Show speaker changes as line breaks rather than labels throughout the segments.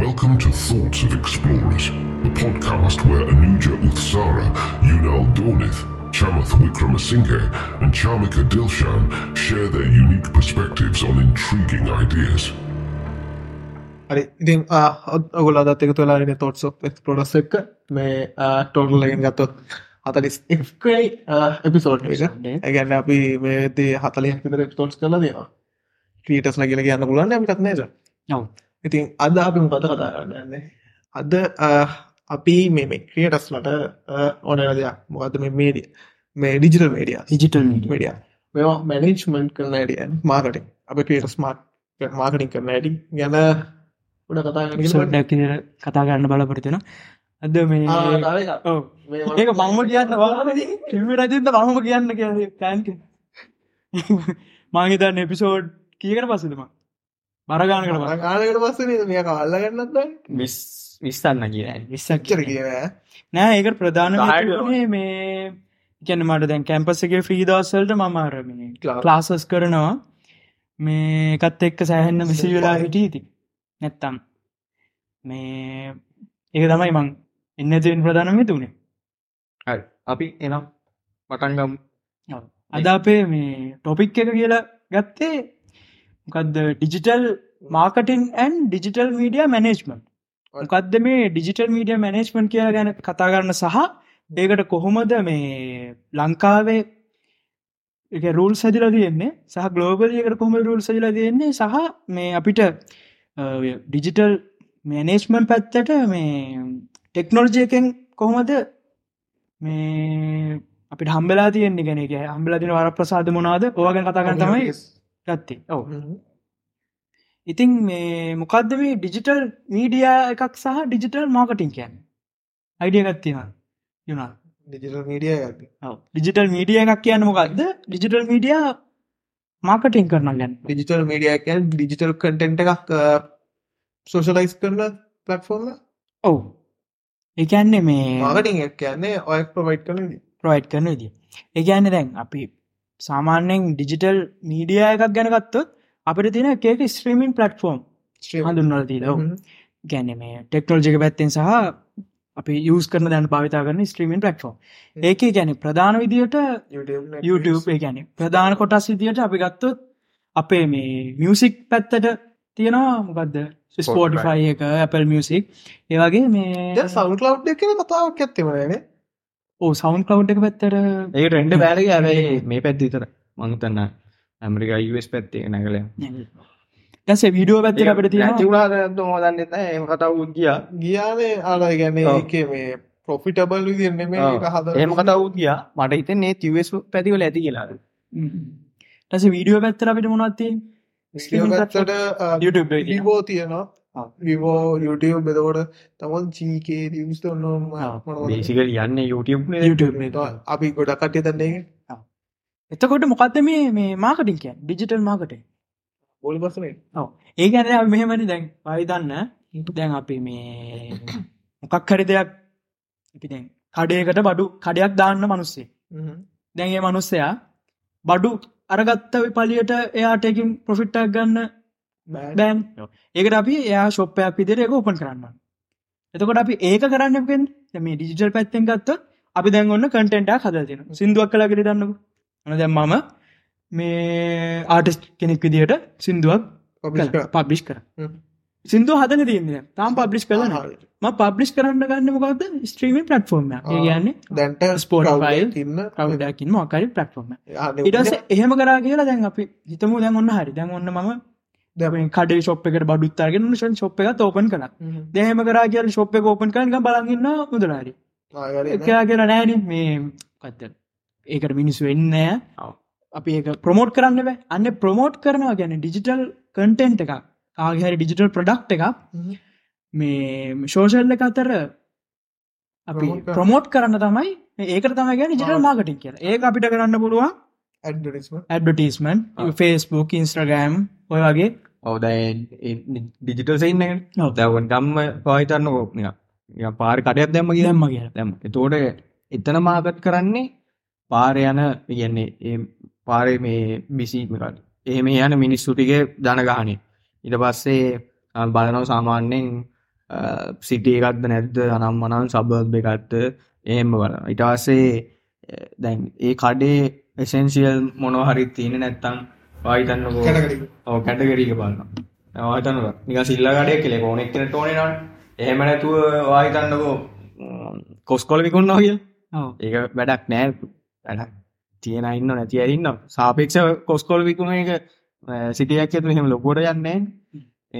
Welcome to Thoughts of Explorers, the podcast where Anuja Uthsara, Yunal Donith, Chamath Wickramasinghe, and Charmika Dilshan share their unique perspectives on intriguing ideas.
හරි ඉතින් ඔගොලා දත්තක තුලාරන තොට්ස් පොඩස් එක්ක මේ ටෝල්ලගෙන් ගත්තොත් හතලිස් එක්කයි episode ඇගැන්න අපි මේදේ හතලින් පිතර තොට්ස් කල දේවා ක්‍රීටස් නගල කියන්න පුලන්න අපිටත් නේද
ඔව්.
ඉතින් අද අපි මොකත කතා කරන්නන්නේ අද අ, අපි මේ මේ ක්‍රියටස්ලට ඕන දෙයක් මොකද මේ මේඩිය මේ ඩිජිටල් මේඩිය
ිටල්
මඩිය මෙවා මැනේජ්මන්ට් කරන ඩිය මාර්කටින් අප ක්‍රියට ස්මාර්ට් මාර්කටින් කරන ඇඩි ගැන ගොඩ කතා කරගෙන ඉන්න.
ඩක් කතා කරන්න බලපොරතින අද මේ
ආ, තව එකක්.
ඔව්.
මේ
ඒක මංම කියන්න වාම රජත මහම කියන්න කිය තැන්ක මංහිතන්න එපිසෝඩ් කියකට පස්සදම බරගාන කර
ආනකට පස්සේ මේ කල්ල ගන්නත්
විස් විස්සන්න කිය
විස්සක්
චර කියන
නෑ ඒක ප්‍රධාන
සාහයට
මේ මේ ගැන මට දැන් කැම්පසගේ ෆ්‍රී දවස්සල්ට මමාරම
Class.
ලාසස් කරනවා මේ එකත් එක්ක සෑහෙන්න විසි වෙලා හිටිය ති නැත්තම් මේ ඒක තමයි මං එන්න තිෙන් ප්‍රධානම තුනේ
අපි එනම් පටන්ගම්
අද අපේ මේ ටොපික් එක කියලා ගත්තේ මොකක්ද digital marketing and digital media management
ඔය.
මොකක්ද මේ ඩිජිටල් මීඩිය මැනේජ්මන්් කියලා ගැන කතා කරන්න සහ ඒකට කොහොමද මේ ලංකාවේ එක රූල් සැදිල තියෙන්නේ සහ ගලෝබලියකට කොම රූල් සදිල තියෙන්නේ සහ මේ අපිට ඩිජිටල් මැනේජ්මන් පැත්තට මේ ටෙක්නෝජයකෙන් කොහොමද මේ අපිට හම්බලා තියෙන්නේ ගැනක හම්බල දින වර ප්‍රසාද මොනාද ඕගන් කතාගන්න තමයි ගත්තේ ඔව
Oh.
ඉතින් මේ මොකක්ද මේ ඩිජිටල් මීඩිය එකක් සහ ඩිජිටල් මාර්කටින් කියන් අයිඩිය ගත්තිවා යුනා
ඩිජිටල් මීඩිය
ඩිජිටල් මීඩිය එකක් කියන්න මොකක්ද ඩිජිටල් මීඩිය මාර්කටින් කරන ගැන්
ඩිජිටල් මීඩියකැන් ඩිජිටල් කටෙන්ට එකක් සෝෂලයිස් කරන පලටෆෝර්ම
ඔවු ඒකන්නේ මේ
මාගටින් එක කියන්නේ ඔය ප්‍රවයිට් කන
ප්‍රයිට් කරන විදි ඒගන්න දැන් අපි සාමාන්‍යයෙන් ඩිජිටල් මීඩිය එකක් ගැනගත්තොත් අපිට තින එකක ස්ත්‍රීමින් පලට්ෆෝර්ම් හඳුන්නල තිීලව
हम्म।
ගැන මේ ටෙක්නෝජික පැත්තෙන් සහ අපි යස් කරන දැන් භාවිතා කරන ස්ත්‍රීමෙන් පලක්ටෝම් ඒක ගැන ප්‍රධාන විදියට YouTube ගැන ප්‍රධාන කොටස් විදියට අපි ගත්තොත් අපේ මේ මියසික් පැත්තට තියෙනවා මොකක්ද ස්පෝටිෆයි එක Apple මියසික් ඒවගේ මේ
සවු ලව් එක කතාවක් ඇත්තෙමනේ
ඕ සවන් කව් එක පැත්තර
ඒ රෙන්ඩ බෑලක ඇබයි මේ පැත් විතර මංතන්න ඇමරිකා යස් පැත්තේ නැකල
දැස විඩියෝ පැත්තර අපට තියෙන
තිවුණාද හොදන්න එත එම කතවුත් කියා
ගියානේ අලයි ගැන
ඔව්.
එක මේ පොෆිටබල් විදින්නේ මේ
ඔව්.
හද
එම කතවුත් කියා මට හිතන් ඒ තිවස් පැතිවල ඇති කියලා
ටස විඩියෝ පැත්තර අපිට මොනත්ති streaming
ගත්තට
YouTube එකේ තියෙනවා.
විවෝ තියෙනවා
ආ.
විවෝ YouTube බෙදකොට තමන් ජීකේ දියස්
ආ.
ඔන්න
දේසිකල යන්න YouTube
YouTube එක.
අපි ගොඩක් කටය තන්නේ
එතකොට මොකක්ද මේ මේ මාකටින් කියන් ඩිජිටල් මාකට
බොලි පසනේ
ඒ ගැන අපි මෙහෙමනි දැන් පවිතන්න දැන් අපි මේ මොකක් හරි දෙයක් අපි දැන් කඩයකට බඩු කඩයක් දාන්න මනුස්සේ දැන්ගේ මනුස්සයා බඩු අරගත්ත පලියට එයාටකින් පොෆිට්ටක් ගන්න බෑන් ඒකට අපි එයා ශොප්පයක් විදිරයක ඕපන් කරන්න එතකොට අපි ඒක කරන්නකෙන් මේ ඩිජිටල් පැත්තෙන් ගත්ත අපි දැන් ඔන්න කටෙන්ටක් හද තින සිින්දුවක් කලා කර දන්නක න දැම් මම මේ ආටස් කෙනෙක් විදිහට සිින්දුවක් පබ්ලිස් කර
හ්ම්.
සිින්දුව හදන තියන්නේ තාම් පබ්ලිස් කරන ම පබ්ලිස් කරන්න ගන්න මොකක්ද ස්ත්‍රීමෙන් පටෆෝර්ම
ආ.
කියන්නේ
දැන්ට
Spotify.
තින්න
කවඩකින්ම අකරි පටෆෝර්ම ඉටස එහෙම කරා කියලා දැන් අපි හිතමු දැන් ඔන්න හරි දැන් ඔන්න ම දැම කඩ ශප් එකට බඩුත්තරගෙන ෂන් ශොප් එක තෝපන් කළ දෙහෙම කරා කියල ශොප් එක ෝපන් කරන්න බලගන්න මුදලාරි එකයා කියලා නෑන මේ කත්ත ඒකට මිනිස්සු වෙන්න
ඔව්.
අපි ඒ ප්‍රමෝට් කරන්න බෑ අන්න ප්‍රමෝට් කරනවා ගැන ඩිජිටල් කටෙන්ට් එක ආගහරි ඩිජිටල් ප්‍රඩක්් එක මේ ශෝෂල්ල එක අතර අපි
Promote කරන්න.
ප්‍රමෝට් කරන්න තමයි මේ ඒකට තමයි ගැන ජිටල්
ආ.
මාගටින් කියලා ඒක අපිට කරන්න පුළුවන් ඇඩ්බටස්මන්
ආ.
ෆස්බුක් ඉන්ස්ට්‍රගෑම් ඔය වගේ
ඔවද ඩිජිටල් සෙන්න
ඔව්.
දවන් ගම්ම පවිතන්න කෝප්නය පාරි කටයක් දැම්ම කිය
ඉදම්ම කියලා
දැම් එතෝට එතන මාගත් කරන්නේ පාර යන කියන්නේ ඒ පාරය මේ බිසිමකට ඒ මේ යන මිනිස්සුටිගේ දනගානේ ඉට පස්සේ අ, බලනව සාමාන්‍යෙන් සිටියකක්ද නැද්ද අනම් මනන් සබර්භ එකත්ත එහෙම වල ඉටවාසේ දැන් ඒ කඩේ එසන්සිියල් මොනොහරි තියෙන නැත්තම් පාහිතන්න
කැටගරි.
ඕ කැටගරීක බලන්න ආතන නික සිල්ල කඩය කෙ ඕනෙක්න ටෝන න එහෙම නැතුව වාහිතන්නකෝ කොස්කොල විකුන්නා කිය
ඔව්.
ඒ වැඩක් නෑ වැඩක් තියෙන ඉන්න නැති ඇරන්න සාපේක්ෂ කොස්කොල් විකුණ එක සිටියක් ඇතු හෙම ලොකොට යන්නේ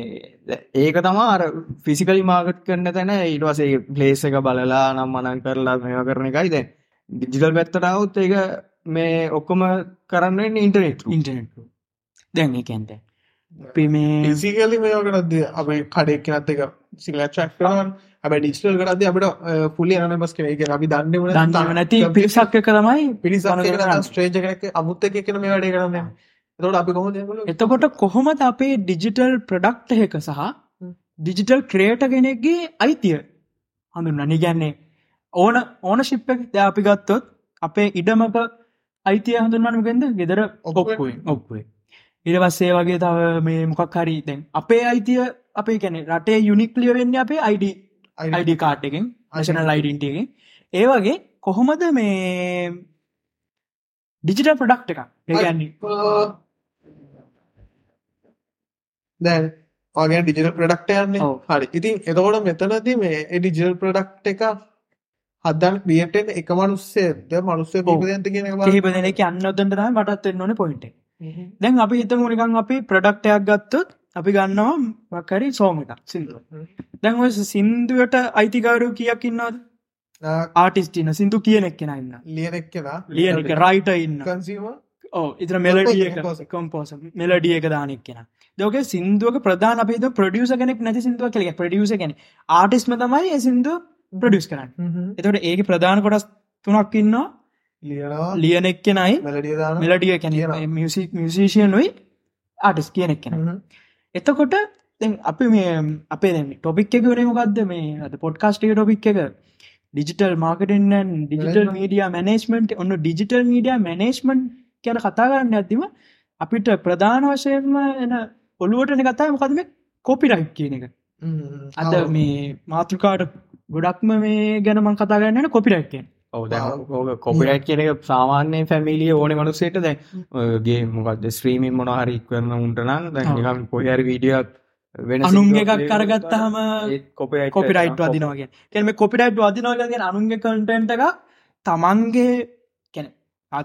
ඒ- ඒක තමා අර ෆිසිකලි මාගට් කරන්න තැන ඉටවසේ පලේස එක බලලා නම් අනන් කරලා මෙවා කරන එකයිද ඩිජිටල් පැත්තටාවත් ඒක මේ ඔක්කොම කරන්න ඉන්ටනෙට්
ඉන්ටනෙට් දැන් ඒකන්ද අපි මේ
සිකලි මේකටද අපේ කඩෙක් නත් එක සිලච්චක් කරන් අප ඩිස්ටල් කරද අපට පුලි අනමස් කන එක අපි දන්නවන
දන්නව නැති පිරිසක්ක කරමයි
පිරිස
ගණන්.
ස්ට්‍රේජ කරක අමුත්ත එක කියන මේ වැඩේ කරන්න තොට අපි කොහො දෙකල
එතකොට කොහොමද අපේ ඩිජිටල් ප්‍රඩක්ට එක සහ ඩිජිටල් ක්‍රේට කෙනෙක්ගේ අයිතිය හඳුන්න නිගැන්නේ ඕන ඕන ශිප් එක දැන් අපි ගත්තොත් අපේ ඉඩමක අයිතිය හඳුන්වන්නගෙන්ද ගෙදර ඔක්කුවෙන් ඔක්කුවේ ඉරවස්සේ වගේ තව මේ මොකක් හරීතෙන් අපේ අයිතිය අපේ කැනෙ රටේ යුනික්ලිය වෙන්න අපේ අයිඩ අයිඩ කාට් එකෙන් අශන ලයිඩන්ටගේ ඒ වගේ කොහොමද මේ ඩිජිටල් ප්‍රඩක්් එක ඒගන්නේ
දැන් වගේ ඩිජිල් ප්‍රඩක්ටයන්නේ
ඔව්.
හරි ඉතින් එතකොට මෙතනද මේ ඩිජිල් ප්‍රඩක්් එක හදන් ක්‍රියට එක මනුස්සේද මනුස්සේ
ඔව්.
පෝදයන්ත කියෙන
කිහිප දෙනෙක යන්න ඔතන්ට තම මටත් එන්න ඕන පොයින්ට දැන් අපි හිතමු නිකන් අපි ප්‍රඩක්ටයක් ගත්තොත් අපි ගන්නවා වකරි සෝම එකක් සිින්දුව දැන් ඔය සින්දුවට අයිතිකාරු කියක් ඉන්නවද ආටිස්ට ඉන්න සිින්දු කියනෙක් කෙන ඉන්න
ලියනෙක් කෙනා
ලියන එක රයිට ඉන්න
කන්සීම
ඕ ඉතර මෙලඩිය
Composer.
කොම්පෝස මෙලඩිය එක දානෙක් කෙන දෝක සිින්දුවක ප්‍රධාන අපේ ප්‍රඩියස කෙනෙක් නැති සිින්දුව කෙ ප්‍රඩියස කෙන ආටිස්ම තමයි ඒ සිින්දු ප්‍රඩියස් කරන්න එතට ඒක ප්‍රධාන කොටස් තුනක් ඉන්නවා
ලියනවා
ලියනෙක් කෙනයි
මෙලඩිය දාන
මෙලඩිය
කියනවා.
කැන මියසිෂයනුයි ආටිස් කියනෙක් කෙන
Mm-hmm.
එතකොට දැන් අපි මේ අපේ ටොපික් එක වනමකක්ද මේ අද පොඩ්කාස්ටික ටොපික් එක ඩිජිටල් මාර්කටෙන් ඩිජිටල්
Management.
මීඩිය මනේස්මට් ඔන්න ඩිජිටල් මීඩිය මනේස්මන්් කියන කතාගන්න ඇතිම අපිට ප්‍රධාන වශයෙන්ම එන ඔළුවටන කතා මොකද මේ කොපිරයි් කියන එක අද මේ මාතෘකාට ගොඩක්ම මේ ගැනමන් කතාගන්න කොපිරක්කෙන්
ඕ කොපිට් කියන එක සාමාන්‍ය ෆැමිලිය ඕන මනුසේට දැන්ගේ මොකක්ද ස්ත්‍රීමින් මොනහරි කරන උන්ටනම්
ඔව්.
දැන්කම් පොහරි වීඩියක් වෙන
අනුන් එකක් කරගත්තාම
කොපිට
කොපිරයිට් වදිනවාගේ කැම කොපිටයිට් වදිනවාගෙන අනුන්ගේ කටන්ට එක තමන්ගේ කැන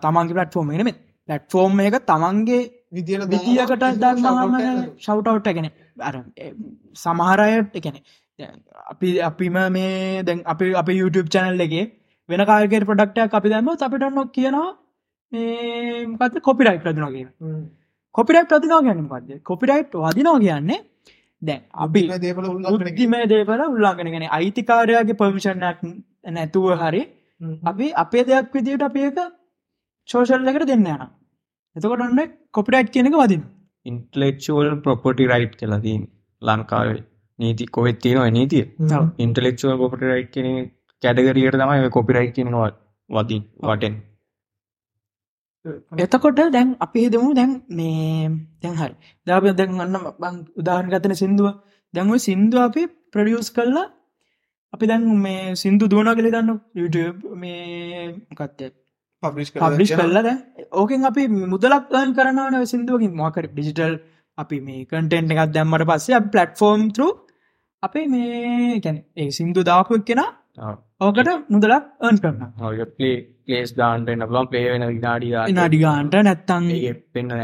තමන්ගේ පටෆෝර්ම් එනම පටෆෝර්ම් එක තමන්ගේ
විදියට
විදිියකට දන්නවාම ශව්ටවට් එකන අර ඒ, සමහරයට එකන අපි අපිම මේ දැන් අපි අප YouTube චැනල් එකේ වෙන කාල්ගේ ප්‍රඩක්ටයක් අපි දැම අපිට නොක් කියනවා මේකත කොපිරයිට් රදිනගේ කොපිරයිට් රදිනා ගැන පද කොපිරයිට් වදිනවා කියන්නේ දැන් අපි
දේපල
බුද්ධිමය දේපල උල්ලාගෙන ගෙන අයිතිකාරයාගේ පර්මිෂණක් නැතුව හරි අපි අපේ දෙයක් විදිට අප එක ශෝෂල් එකට දෙන්න යන එතකොට ඔන්න කොපිටයිට් කියනක වදින්
ඉන්ටලෙක්ෂුවල් ප්‍රොපටි රයිට් කලදී ලංකාවේ නීති කොහෙත් තියෙනවා නීතිය ඉන්ටලෙක්ෂුවල් පොපටි රයිට් කියන කැඩගරියට තමයි කොපිරයිට් කියනවා වදින් වටෙන්
Mm-hmm.
එතකොට දැන් අපි හිදමු දැන් මේ දැන් හරි දාප දැන් අන්න බං උදාහරණ ගතන සිින්දුව දැන්ව සිින්දුව අපි ප්‍රඩියස් කල්ලා අපි දැන් මේ සිින්දු දුවනගල දන්න YouTube මේ කත්තේ
පබ්ලිස්
පබ්ලිස් කල්ලද ඕකෙන් අපි මුදලක් න් කරනවන සිින්දුවකින් මොකර ඩිජිටල් අපි මේ කටෙන්ට් එකක් දැම්මට පස්සේ පලට ෆෝම් තර අපේ මේැන ඒ සිින්දු දාපුක් කෙන ඕකට මුදලක් න් කරන
ලේස් දාන්ටන්න ලම් පේ වෙන විනාඩිය
නාඩිගාන්ට නැත්තන්
පෙන්න්න
ඔව්.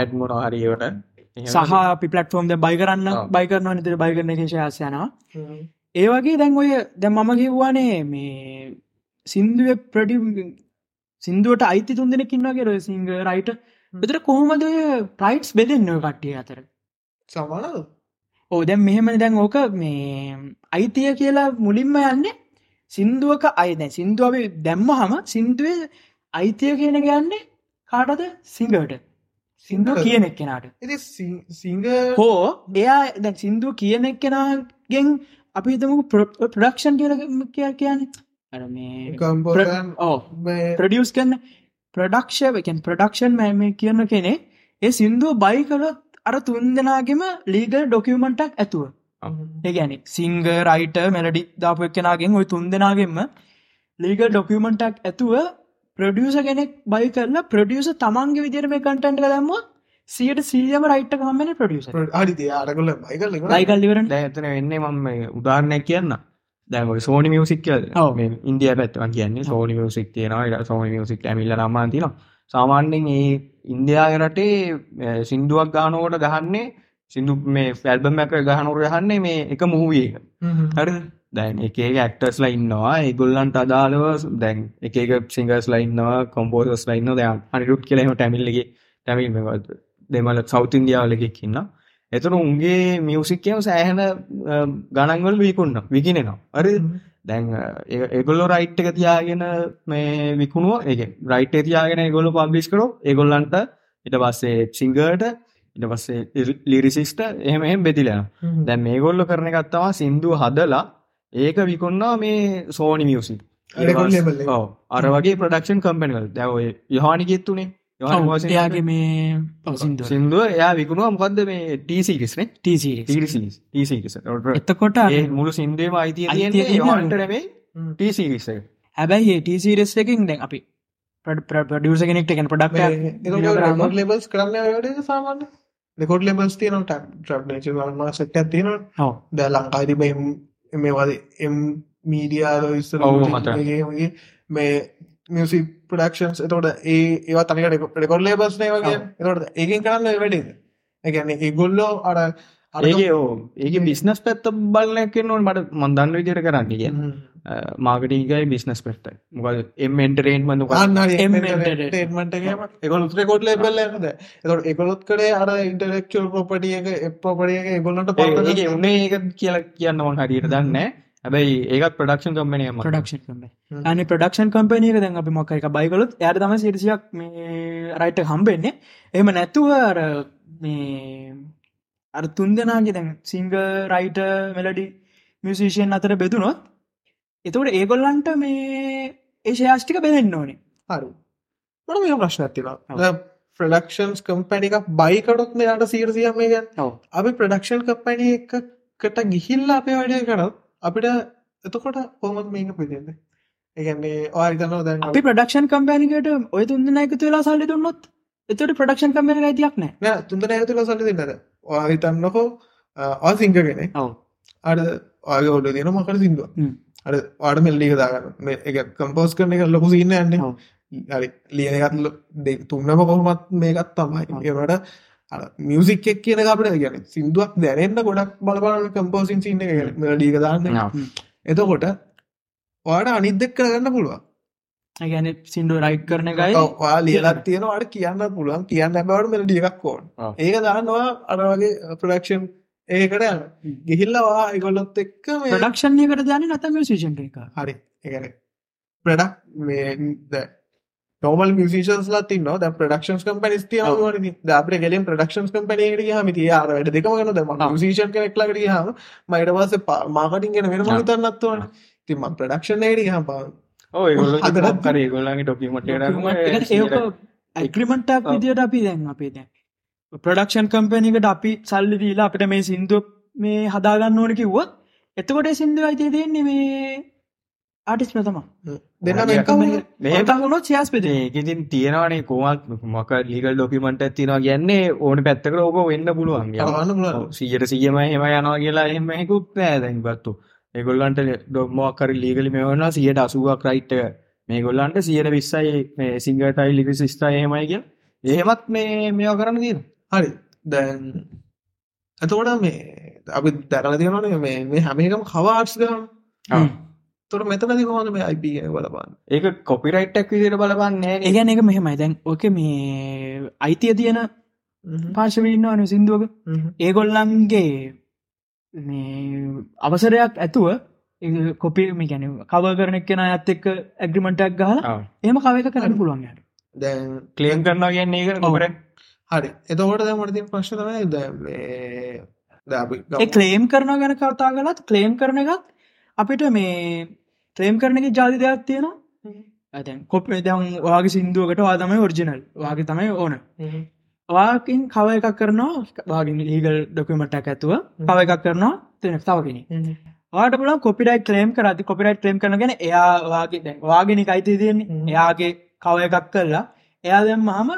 ඇත් මොන හරිවට එහෙම
සහ අපි පලටෆෝර්ම් ද බයි කරන්න
ඔව්.
බයි කරන නිතර බයිගරන ශාසයනවා ඒ වගේ දැන් ඔය දැ මම කිව්වානේ මේ සින්දුව ප්‍රඩි සිින්දුවට අයිති තුන් දෙෙන කින්නගේ රොය සිංහ රයිට බෙතර කොහොමද ප්‍රයිට්ස් බෙදෙන්න්න ඔය කට්ටිය අතර
සමාන
ඕ දැන් මෙහෙම දැන් ඕක මේ අයිතිය කියලා මුලින්ම යන්නේ සින්දුවක අයද සින්දුව අපි දැම්ම හම සින්දුවේ අයිතිය කියන ගන්නේ කාටද සිංහට සින්දුව කියනෙක් කෙනාට
ඉති සිංහ
හෝ එයා දැ සින්දුව කියනෙක් කෙනගෙන් අපි හිතම ප්‍රඩක්ෂන් කියල කිය කියන්නේ අර මේ
කම්පෝන්
ඕ ප්‍රඩියස් කරන්න ප්‍රඩක්ෂයකෙන් ප්‍රඩක්ෂන් මෑම කියන්න කෙනෙ ඒ සින්දුව බයි කළොත් අර තුන් දෙනාගෙම ලීගල් ඩොකියමටක් ඇතුව ඒගැන සිංග රයිට මෙලඩි දාපක් කෙනගෙන් ඔයි තුන් දෙනාගෙන්ම ලීගල් ඩොකියමටක් ඇතුව ප්‍රඩියස කෙනෙක් බයි කරලා ප්‍රඩියස තමන්ගේ විදිරම කටන්ට දැම්ම සියට සිල්ියම රයිට් කමන ප්‍රඩියස
අඩි අරගල බයිගල
ලයිකල්ලිවරට
දැතන වෙන්නේ මම උදාරණයක් කියන්න දැ සෝනි මියසික්ක
ඔව්.
ඉන්දිය පැත්වන් කියන්නේ සෝනි මියසික් තියෙනවා සෝනි මියසික් ඇමිල්ල නම්මාතින සාමාන්‍යෙන් ඒ ඉන්දයාගෙනටේ සින්දුවක් ගානෝට ගහන්නේ සිදු මේ ෆැල්බම් එක ගහනුර යහන්නේ මේ එක මුහුවියක හරි දැන් එක ඇක්ටර්ස් ලයින්නවා ඒගොල්ලන්ට අදාළව දැන් එක සිංගස් ලයින්නවා කොම්බෝස් ලයින්න දයන් අනිරුට් කියලීම ටැමිල්ලගේ ටැමිල් දෙමල සෞති ඉන්දියාවලෙකෙක් ඉන්න එතුරු උන්ගේ මියසික්කයම සෑහන ගණන්වල විකුන්න විකිනෙනවා අරි දැන් ඒගොල්ලො රයිට් එක තියාගෙන මේ විකුණුව එක රයිට් තියාගෙන ගොල්ල පබ්ලිස් කරෝ ඒගොල්ලන්ට ඉට පස්සේ සිංගට ඉට පස්සේ ලිරිසිිස්ට එහෙම එහෙම බෙතිලෙන
Mm-hmm.
දැන් මේගොල්ල කරන එකත්තවා සින්දු හදලා ඒක විකුන්නා මේ සෝනි මියසි
record label එක.
අර වගේ ප්‍රඩක්ෂන් කම්පෙනල් දැවය යහනි ගෙත්තුනේ
යාගේ මේ පසිින්ද
සිින්දුව එයා විකුණවා මොකක්ද මේ ටීසිකිස්නේ
ටීසි
ටීසිකිස
එතකොට
මුළු සින්දේ අයිතිය
අයිතිය
තියෙන්නේ
තියෙන්නේ
යහන්ට නෙමේ ටීසිකිස
හැබැයි ඒටසිරෙස් එකින් දැන් අපි ප්‍රඩියස කෙනෙක්ට එකෙන් පඩක්
ලෙබල්ස් කරන්න වැඩ සාමාන්න ලෙකොඩ් ලෙබල්ස් තියනට ්‍රබ්නච වන්ම සට්ට තියෙන
හෝ
ද ලංකායිති බ මේ වද එම් මීඩියාල විස්ස
ඔව් මතකයි.
ගේ මේ මියසි ප්‍රඩක්ෂන්ස් එතකොට ඒ ඒවා තනිකට රෙකොඩ් ලේබස් නේ වගේ එතට ඒකින් කරන්න වැඩේද එකැන ඒගොල්ලෝ අර අර
ඒගේ ඕ ඒක බිස්නස් පැත්ත බලනැකෙන් නොන් මට මන්දන්න විදිර කරන්න කිය
හ්ම්.
මාගටීගයි බිස්නස් පැත්තයි මොකද එම් එන්ටරේන්ම
ගන්න හරි
එම්
entertainment
entertainment
එකේම ඒගොල්ලොත් රෙකොඩ් ලේබල් එකද එතකොට ඒගොල්ලොත් කරේ අර ඉන්ටෙලෙක්චුවල් ප්‍රොපර්ටි එක ප්‍රොපර්ටි එක ඒගොල්ලන්ට පාවිච්චි
ඒ උනේ ඒක කියලා කියන්න මන් හරියට දන්න හැබැයි ඒකත් ප්‍රඩක්ෂන් කම්මනය ම
ප්‍රඩක්ෂන් කම්පේ
හ්ම්.
අන ප්‍රඩක්ෂන් කම්පනීක දැන් අපි මොක්ක එක බයිකලොත් යට තම සිරිසියක් මේ රයිට හම්බෙන්නේ එම නැතුව අර මේ අර තුන් දෙනාගේ දැන් සිංග රයිට මෙලඩි මියසිෂයෙන් අතර බෙදුනොත් එතවට ඒගොල්ලන්ට මේ ඒ ශයාෂ්ටික බෙදෙන්න්න ඕනේ
හරු මට මේ ප්‍රශ්න ඇතිවා ප්‍රඩක්ෂන්ස් කම්පැනි එකක් බයිකඩොත් මෙයාට සීරසිය මේ ගැන්
ඔව්.
අපි ප්‍රඩක්ෂන් කම්පැනි එකකට ගිහිල්ල අපේ වැඩය කරත් අපිට එතකොට පොමත් මේක පිදෙද ඒගැන්නේ ආරිතනෝ දැන්
අපි ප්‍රඩක්ෂන් කම්පැනිකට ඔය තුන්දෙන එක තුවෙලා සල්ලි දුන්නොත් එතට ප්‍රඩක්ෂන් කම්පෙන යිතියක් නෑ
නෑ, තුන්දෙන ඇතුල සල්ලි දෙන්නද ආරිතන්නකෝ ආ සිංහගෙන
ඔව්.
අඩ ආය ඔඩ දෙන මකට සිින්දුව
හ්ම්.
අඩ ආඩ මෙල්ලික දාගන්න මේ එක කම්පෝස් කරන එක ලොකු සින්න යන්නේ
ඔව්.
හරි ලියනකත් තුන්නම කොහොමත් මේකත් තමයි ඒවට මියසික් එක් කියන අපට ගැන සිින්දුවක් දැනෙන්න්න ගොඩක් බලපන කම්පෝසින් සින්න එක ලීක දාන්න එතකොට වාට අනිද්දෙක් කරගන්න පුළුවන්
ගැන සිින්ඩෝ රයිට් කරන එකයි
වා ලියලත් තියෙනවාට කියන්න පුළුවන් කියන්න බවට මෙට ඩියක් කෝන්
ඔව්.
ඒක දන්නවා අරවගේ ප්‍රඩක්ෂන් ඒකට යන ගිහිල්ලවා එකගොල්ලොත් එක්ක මේ
ප්‍රඩක්ෂණයකට දන නතම සිෂන් එක
හරි එකන ප්‍රඩක් මේද ෝමල් මිසින්ස් තින්න ද ප්‍රඩක්ෂන් කම්පනස් තියන අපේ ගෙලින් ප්‍රඩක්ෂන් කම්පනයට හමති යාර වැඩ දෙකම ගන දම මිසිෂන් කනෙක්ලට හම මයිටවාස මාකටින් ගෙන වෙන තන්නත්වන තිම ප්‍රඩක්ෂන් ේඩ හම පව අදටත්-
ඕර ගොල්ලගේ ටොපීමට
eh, ඇක්ලිමටක් විදියට අපි දැන් අපේ දැන් ප්‍රඩක්ෂන් කම්පැනිකට අපි සල්ලි දීලා අපිට මේ සින්දු මේ හදාගන්න ඕන කිව්වත් එතකොට ඒ සින්දු අයිතිය දෙන්නේ මේ ආටිස් ප්‍රතම
දෙන්න
හරි,
මේකම
ඒතගුණොත් සයාස් පෙදේ
ඒකතින් තියෙනවානේ කෝමත් මොක ලිකල් ඩොකිමට ඇතිනවා කියන්නේ ඕන පැත්තකට ඕක වෙන්න පුළුවන් යම.
කරවන්න පුළුවන්.
සියට සියම හෙම යනවා කියලා එහෙමකුත් නෑ දැන් බත්තු ඒගොල්ලන්ට ඩොම්මෝකර ලීගලි මෙවනවා සියට අසුවක් රයිට් මේ ගොල්ලන්ට සියට විස්සයි සිංගටයි ලිකි සිස්ටයි හෙමයි කිය එහෙමත් මේ මෙවා කරන්න දීන
හරි දැන් ඇතකොට මේ අපි දැරල තියනන මේ හැමකම කවාර්ස් ගම්
හ්ම්.
තොර මෙතනති හොඳ මේ අයිප බලපාන්න
ඒක කොපිරයිට්ක් විදිර බලපන්නේ නෑ
ඒගැන එක මෙහෙමයි දැන් ඕක මේ අයිතිය තියෙන පාර්ශවීන්න අනු සින්දුවක ඒගොල්ලන්ගේ මේ අවසරයක් ඇතුව කොපිම ගැන කව කරන කෙන අත් එක්ක ඇග්‍රිමටක් ගහල
නේ
එම කවක කරන්න පුළුවන් යට
දැන්
ක්ලියම් කරනවා කියන්නේ ඒක
ඔව්.
කොපිරයිට්
හරි එතකොට දැ මට තින් ප්‍රශ්නමය දැ
ඒ ක්ලේම් කරන ගැන කතා කලත් ක්ලේම් කරන එකත් අපිට මේ ත්‍රේම් කරනක ජාති දෙයක් තියෙනවා ඇතැන් කොප් දැන් වාගේ සිින්දුවකට වාතමයි ඔරිජිනල් වාගේ තමයි ඕන වාකින් කව එකක් කරනවා වාගින් ලීගල් ඩොකමට ඇතුව කව එකක් කරනවා තින තවගෙන වාට පුල කොපිටයි කලේම් කරති කොපිටයි කලේම් කරනගෙන එයාවාගේ දැන් වාගෙනක අයිති තියන්නේ
හ්ම්.
එයාගේ කව එකක් කරලා එයා දැම් හම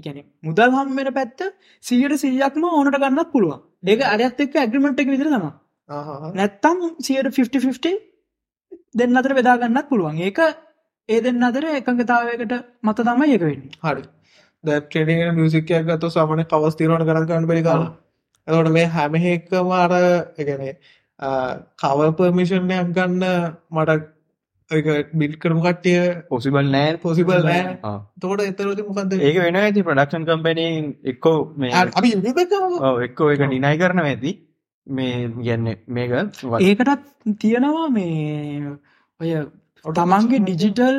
එකන මුදල් හම්මෙන පැත්ත සීට සිල්ලක්ම ඕනට ගන්නත් පුළුවන් ඒක අරත් එක් ඇග්‍රමට් එක විදිර තම නැත්තම් සියට 50 දෙන්න අතර බෙදාගන්නත් පුළුවන් ඒක ඒ දෙන්න අතර එකඟතාවයකට මත තමයි එක වෙන්න
හරි දැ ට්‍රඩිගෙන මියසිකයක් ගත සාමන කවස් තිරන කරගන්න පිරිකාල ඇතට මේ හැමහෙක්ක මාර එකනේ කව පර්මිෂණයක් ගන්න මට බිල් කරම කට්ටිය
පොසිබල් නෑ
පොසිබල් නෑ
ආ.
තෝට එතරති මොකද
ඒක වෙන ඇති ප්‍රඩක්ෂන් කම්පනීන් එක්කෝ මේ
අපි ඉ
ඔව්, එක්කෝ එක නිනයි කරන ඇති මේ ගැන්න මේක ව-
ඒකටත් තියෙනවා මේ ඔය තමන්ගේ ඩිජිටල්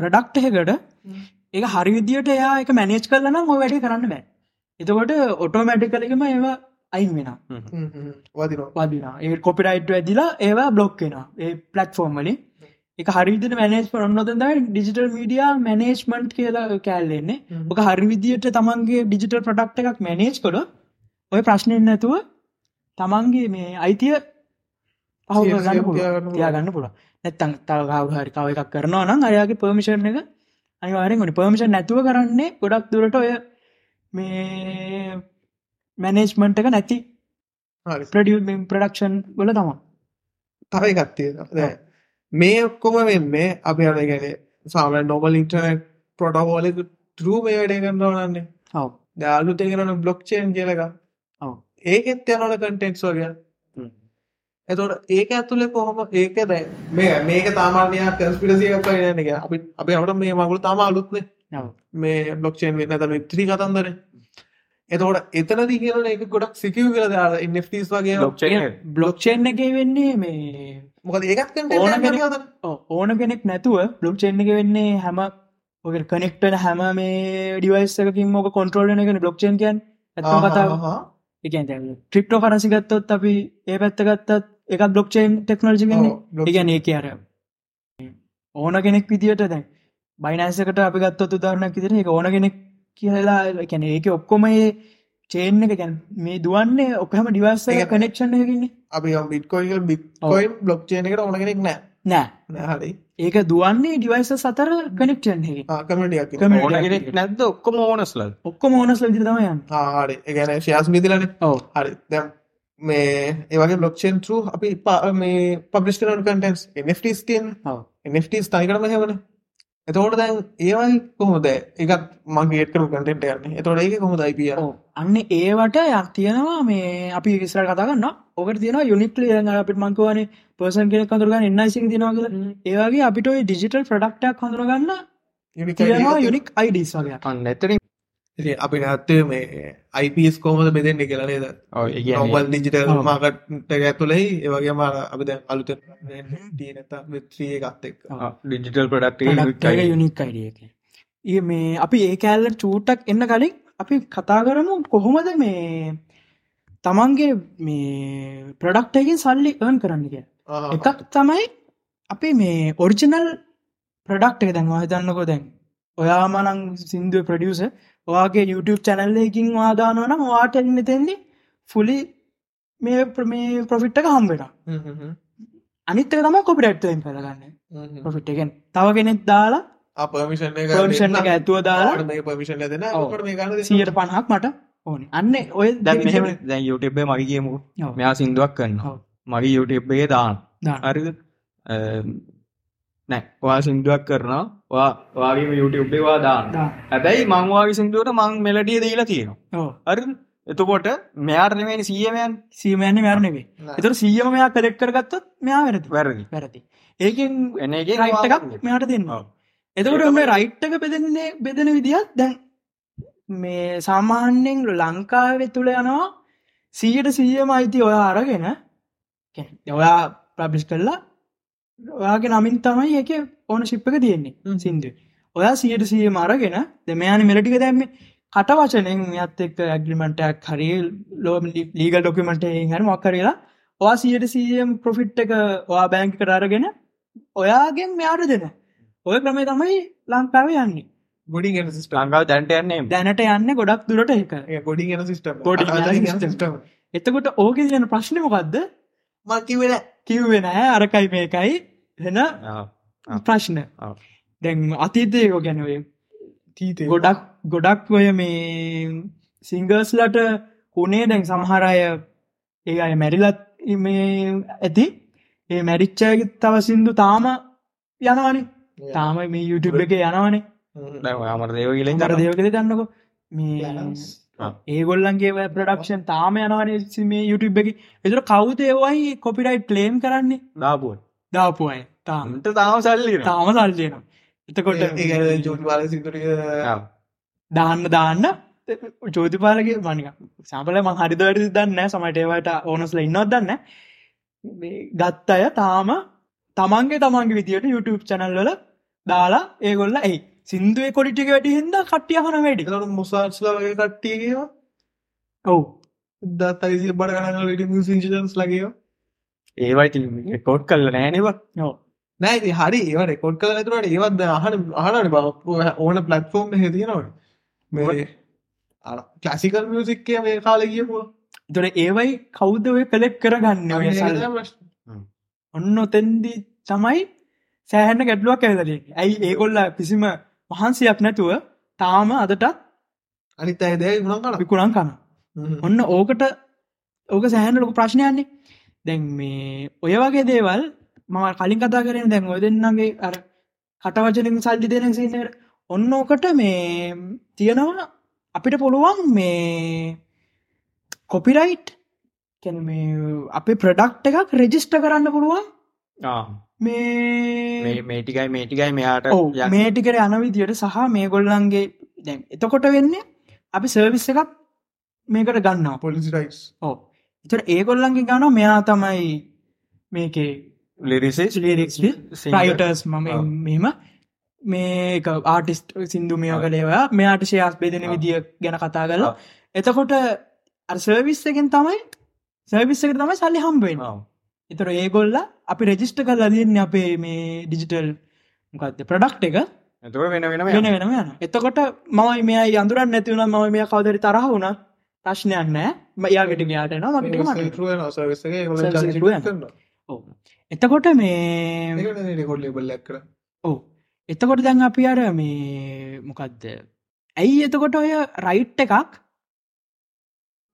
ප්‍රඩක්් එකට ඒ හරි විදියට එයා එක මැනේජ් කරලන හෝ වැඩි කරන්න බෑ එතකොට ඔටෝමැටිකලකම ඒවා අයින් වෙන
වදිනවා
වදිනා ඒ කොපිටයිට් ඇදිලා ඒවා බ්ලොක් වෙන ඒ පලට්ෆෝර්ම්මලි එක හරිවිදි මැනේජ් පරන්නොතද ඩිජිටල් මීඩියා මැනේජ්මන්ට් කියලා කෑල්ලෙන්නේ ඔක හරි විදියට තමන්ගේ ඩිජිටල් ප්‍රඩක්් එකක් මැනේජ් කොළ ඔය ප්‍රශ්නයෙන් නැතුව තමන්ගේ මේ අයිතිය පහු
සිය-
කරගන්න
සියම
පුළුවන්.
තියාගන්න පුළුවන්.
තියාගන්න පුළ නැත්තන් තව ගාවහරි කව එකක් කරනවා නම් අරයාගේ පර්මිෂණ එක අනිවාරෙන් ගනි පර්මිෂණ නැතුව කරන්නේ ගොඩක් දුරට ඔය මේ මැනේජ්මන්ට් එක නැති
හරි.
ප්‍රඩිය ප්‍රඩක්ෂන් වල තමා
තවයි ගත්තියෙන මේ ඔක්කොම වෙන්නේ අපි අරගැන සාමන නොබල් ඉන්ටනෙට් පොටවෝල තරුව මේ වැඩේ කරන්නවනන්නේ
ඔව
යාලුතෙගෙන බ්ලොක්්චේන් කියලක
ඔව්.
ඒකෙත් යනට කටෙක්ස් වගේ එතොට ඒක ඇතුලේ කොහොම ඒක දැ මේ මේක තාමාන්‍ය කස්පිරසියක් නක අපි අපි අට මේ මගුල තම අලුත්න
ඔව්.
මේ බ්ලොක්්චේන් වෙන්න තම ත්‍රී කතන්දර එතකොට එතනද කියන එක ගොඩක් සිකව් කල දාර ඉන්ස් වගේ
blockchain එක.
බ්ලොක්්ෂන් එක වෙන්නේ මේ
මොකද ඒකත්
ඕන
කට
කෙනෙක්- ඔව්, ඕන කෙනෙක් නැතුව බ්ලොක්්චේන් එක වෙන්නේ හැම ඔක කනෙක්ටන හැම මේ ඩිවයිස්සකින් මෝක කොන්ට්‍රෝල්න එකන බ්ලොක්්චන් කියන් ඇත්තම කතාව එකන් ක්‍රිප්ටෝ කරසි ගත්තොත් අපි ඒ පැත්ත ගත්තත් එකත් බ්ලොක්්චේන් ටෙක්නෝජිගන්නේ ඉගැන ඒ අර ඕන කෙනෙක් විදිට දැන් බයිනෑසකට අපි ගත්තොත් උදාරණක් ඉදිර එක ඕන කෙනෙක් කියලා කැන ඒක ඔක්කොම ඒ චේන් එක ගැන් මේ දුවන්නේ ඔක්හම ඩිවස්ස
ඒක-
කනෙක්ෂන් එකකින්නේ
අපි බිට්කොයිල් බික්කොයින් බ්ලොක්්චේන එකට ඕන කෙනෙක් නෑ
නෑ
නෑහරි
ඒක දුවන්නේ ඩිවයිස සතර කනෙක්ෂන් හකි
කමටියක්
Community
ඕන
එකක්
කෙනෙක් නැද්ද ඔක්කොම ඕනස්ලල්
ඔක්කොම ඕනස් ලදිරතමයන්
හාරි එකගැන ශයාස් මිතිලන
ඔව
හරි දැම් මේ ඒවගේ බ්ලොක්්චේන් තර අපි පා- මේ පබ්ලිස් කරන කටන්ස් ස්ටන්
ඔව්.
ස්ටස් තනිකරම හෙවන එතෝට දැන් ඒවල් කොහොද එකත් මගේකරු කටෙන්ට යන්න එතොට ඒක කොහොද අයිපිය
අන්න ඒවට යක් තියෙනවා මේ අපි විස්ර කතාගන්න ඔක තියෙන යුනිට ලියන අපිට මංකවන පර්සන් කෙන කඳරගන්න එන්නයිසි තිනවාගල ඒවගේ අපිට ඩිජිටල් ප්‍රඩක්්ටක් හඳරගන්න තියෙනවා යුනික් අයිඩස් වගේ
අන්න එතරින්
අපි නත්තේ මේ අයිපස් කෝමද බෙදෙන්න්න කියලනේද
ඔව්, ඒ කියන්නේ
ඔබල් ඩිජිටල්
ඔව්.
මාකට් ඇතුලෙයි ඒවගේ මාර අපි දැන් අලුත දීනත විත්‍රිය ගත්තෙක්
ඩිජිටල් ප්‍රඩක්්
ප්‍රඩක්ටක යුනික් අයිඩියක ඒ මේ අපි ඒ කෑල්ල චූටක් එන්න කලින් අපි කතා කරමු කොහොමද මේ තමන්ගේ මේ ප්‍රඩක්ටයකින් සල්ලි ර්න් කරන්න කිය එකක් තමයි අපි මේ ඔරිජිනල් ප්‍රඩක්් එක දැන්වා දන්නකෝ දැන් ඔයාමනං සිින්දුව ප්‍රඩියස ඔයාගේ YouTube චැනල්ලකින් වාදානවන වාට එන්නතෙන්නේ ෆුලි මේ ප්‍ර- මේ ප්‍රොෆිට්ට හම් වෙන අනිත්ත තම කොපිටක්්ෙන් කරගන්න පොෆිට් එකෙන් තව කෙනෙක් දාලා
අපමිෂණ
පර්මිෂන් එක ඇතුව දාලා
මේ පමිෂණ දෙන
ඔව්.
ඔකට මේ ගන්න දෙන්න.
සියට පණහක් මට ඕන අන්න ඔය
දැන් මෙහෙම දැන් යුටබේ මගේ කියමු
ඔව්.
මෙයා සිින්දුවක්
ඔව්.
කරන්න මගේ යුටබේ දාන්න
දාන්න.
හරිද අම්, නෑ ඔයා සිින්දුවක් කරනවා වා වාගේම යුටබ්බේවා දාන්න
දාන්න.
හැබැයි මංවාගේ සිින්දුවට මං මෙලඩිය දීලා තියෙනවා
ඔව්.
හරි එතකොට මෙයාර්නමනි සියමයන්
සීමයන්නේ මැරණවේ එතර සීයම මෙයා කලෙක් කරගත්තත් මෙයා වැරදි
වැරදි
වැරදි ඒකෙන්
එනගේ
රයිට් එකක් මෙයාට දෙන්නවා එතකොට මේ රයිට් එක බෙදන්නේ බෙදෙන විදිහත් දැන් මේ සාමාන්‍යෙන් ලංකාව තුළ යනවා සීයට සීයම අයිති ඔයා අරගෙන කියන්නේ ඔයා ප්‍රබ්ලිස් කරලා ඔයාගේ නමින් තමයි එක ඕන ශිප්පක තියෙන්නේ සිින්දු ඔයා සියට සිය මරගෙන දෙමයාන මෙලටික දැම්ම කට වචනයෙන් මෙත් එක් ඇගලිමටක් හරි ලෝ ලීග ඩොකමට හර මොක්කරලා වා සියට සම් ප්‍රොෆිට් එක වා බෑංක කරාරගෙන ඔයාගෙන් මෙයාට දෙන ඔය ක්‍රමේ තමයි ලංකාව යන්නේ
ගොඩි ගෙන සිිට
ලංකාව දැන්ට යන්නේ
දැනට යන්න ගොඩක් දුරට එක
ගොඩි ගෙන සිිටම
ගොඩි ගෙන system. එතකොට ඕක යන ප්‍රශ්නමකක්ද
මකිවෙන
කිව්වෙන අරකයි මේකයි වෙන ප්‍රශ්න
ආ.
දැන් අතීතයෝ ගැනවේ
තීත
ගොඩක් ගොඩක් ඔය මේ සිංගර්ස්ලට හුනේ දැන් සමහරය ඒ අය මැරිලත් මේ ඇති ඒ මැරිච්චයග තව සින්දු තාම යනවානේ තාම මේ YouTube එක යනවනේ
අමර දේව කියල
අර දෙවකද දන්නකො මේ
යනවා.
ආ.
ඒගොල්ලන්ගේ ප්‍රඩක්ෂන් තාම යනවනේ සි- මේ YouTube එක එතුර කවුතේවයි කොපිටයිට් ලේම් කරන්නේ
දාපුුව
දාපුුවයි තාම
අන්ට තාම සල්ලි
තාම සල්ලයනවා එතකොට
ජෝටි බල සිදුරිය
දාන්න දාන්න චෝතිපාලගේ මනික සම්පල ම හරිදවැරදි දන්න සමටේවට ඕනස්ල ඉන්නවත් දන්න ගත්ත අය තාම තමන්ගේ තමන්ගේ විදියට YouTube චැනල්වල දාලා ඒගොල්ල ඒ සිින්දුවේ කොඩිටික වැටි හිද කට්ටිය හන වැඩි
එකට මුසාස්ලගේ කට්ටියකවා
ඔව්
දත්තයිසි බඩ ගනල ට සිංචිදන්ස් ලගේෝ
ඒවයි කොට් කල්ල නෑනවා
නෝ
නෑ හරි ඒව රෙකොඩ් කල තුරට ඒවත් හන අහනට බව ඕන පලට්ෆෝර්ම් හැතිෙනවට මේ කලසිකල් මියසික්කය මේ කාල කියපුවා
දොර ඒවයි කෞද්දවය කලෙක් කරගන්න ඔය සල්ල. ඔන්න ඔතෙන්දී තමයි සෑහන්න ගැටලුවක් ඇදලේ ඇයි ඒගොල්ල කිසිම වහන්සයක් නැතුව තාම අදටත්
අනිත් අයි දැයි ගුණන් කල
විකුණන් කන ඔන්න ඕකට ඕක සෑහන ලොක ප්‍රශ්නයන්නේ දැන් මේ ඔය වගේ දේවල් මම කලින් කතා කරන දැන් ඔය දෙන්නගේ අර කටවචනින් සල්ලි දෙන සිට ඔන්න ඕකට මේ තියෙනවා අපිට පුළුවන් මේ කොපිරයිට් කැන මේ අපේ ප්‍රඩක්් එකක් රෙජිස්ට කරන්න පුළුවන් මේ
මේටිකයි මේටිකයි මෙයාට
ඔව් මේ ටිකට යන විදියට සහ මේ ගොල්ලන්ගේ දැන් එතකොට වෙන්නේ අපි සර්විස් එකක් මේකට ගන්නවා
පොලිසි රයිස්
ඕ එතට ඒගොල්ලන්ගේ ගන මෙයා තමයි මේකේ
ලිරිසේ
ලිරික්ස් රයිටර්ස් මම මෙම මේ ආටිස්ට සිින්දු මෙය කළේවා මෙයාට ශයාස් බේදන
ආ.
විදිිය ගැන කතා කලා එතකොට සර්විස් එකෙන් තමයි සර්විස් එක තමයි සල්ලි හම්බේෙන එතර ඒගොල්ල අපි රෙජිස්ට කල් අදන්න අපේ මේ ඩිජිටල් මොකක්ද ප්‍රඩක්් එක
ඇතුව වෙන
වෙන
වෙන
වෙනම යන එතකොට මයි මේ අඳුරන් නැතිවන ම මේ කවදරි තරහ වුණ ප්‍රශ්නයක් නෑ මයාගෙට යාට න මට මට
සවිසගේ හො
Service එකට රුවෙනවා. ඔව්. එතකොට මේ
රෙකොඩ් ලබල්ලක් කර
ඔව එතකොට දැන් අපි අර මේ මොකක්ද ඇයි එතකොට ඔය රයිට් එකක්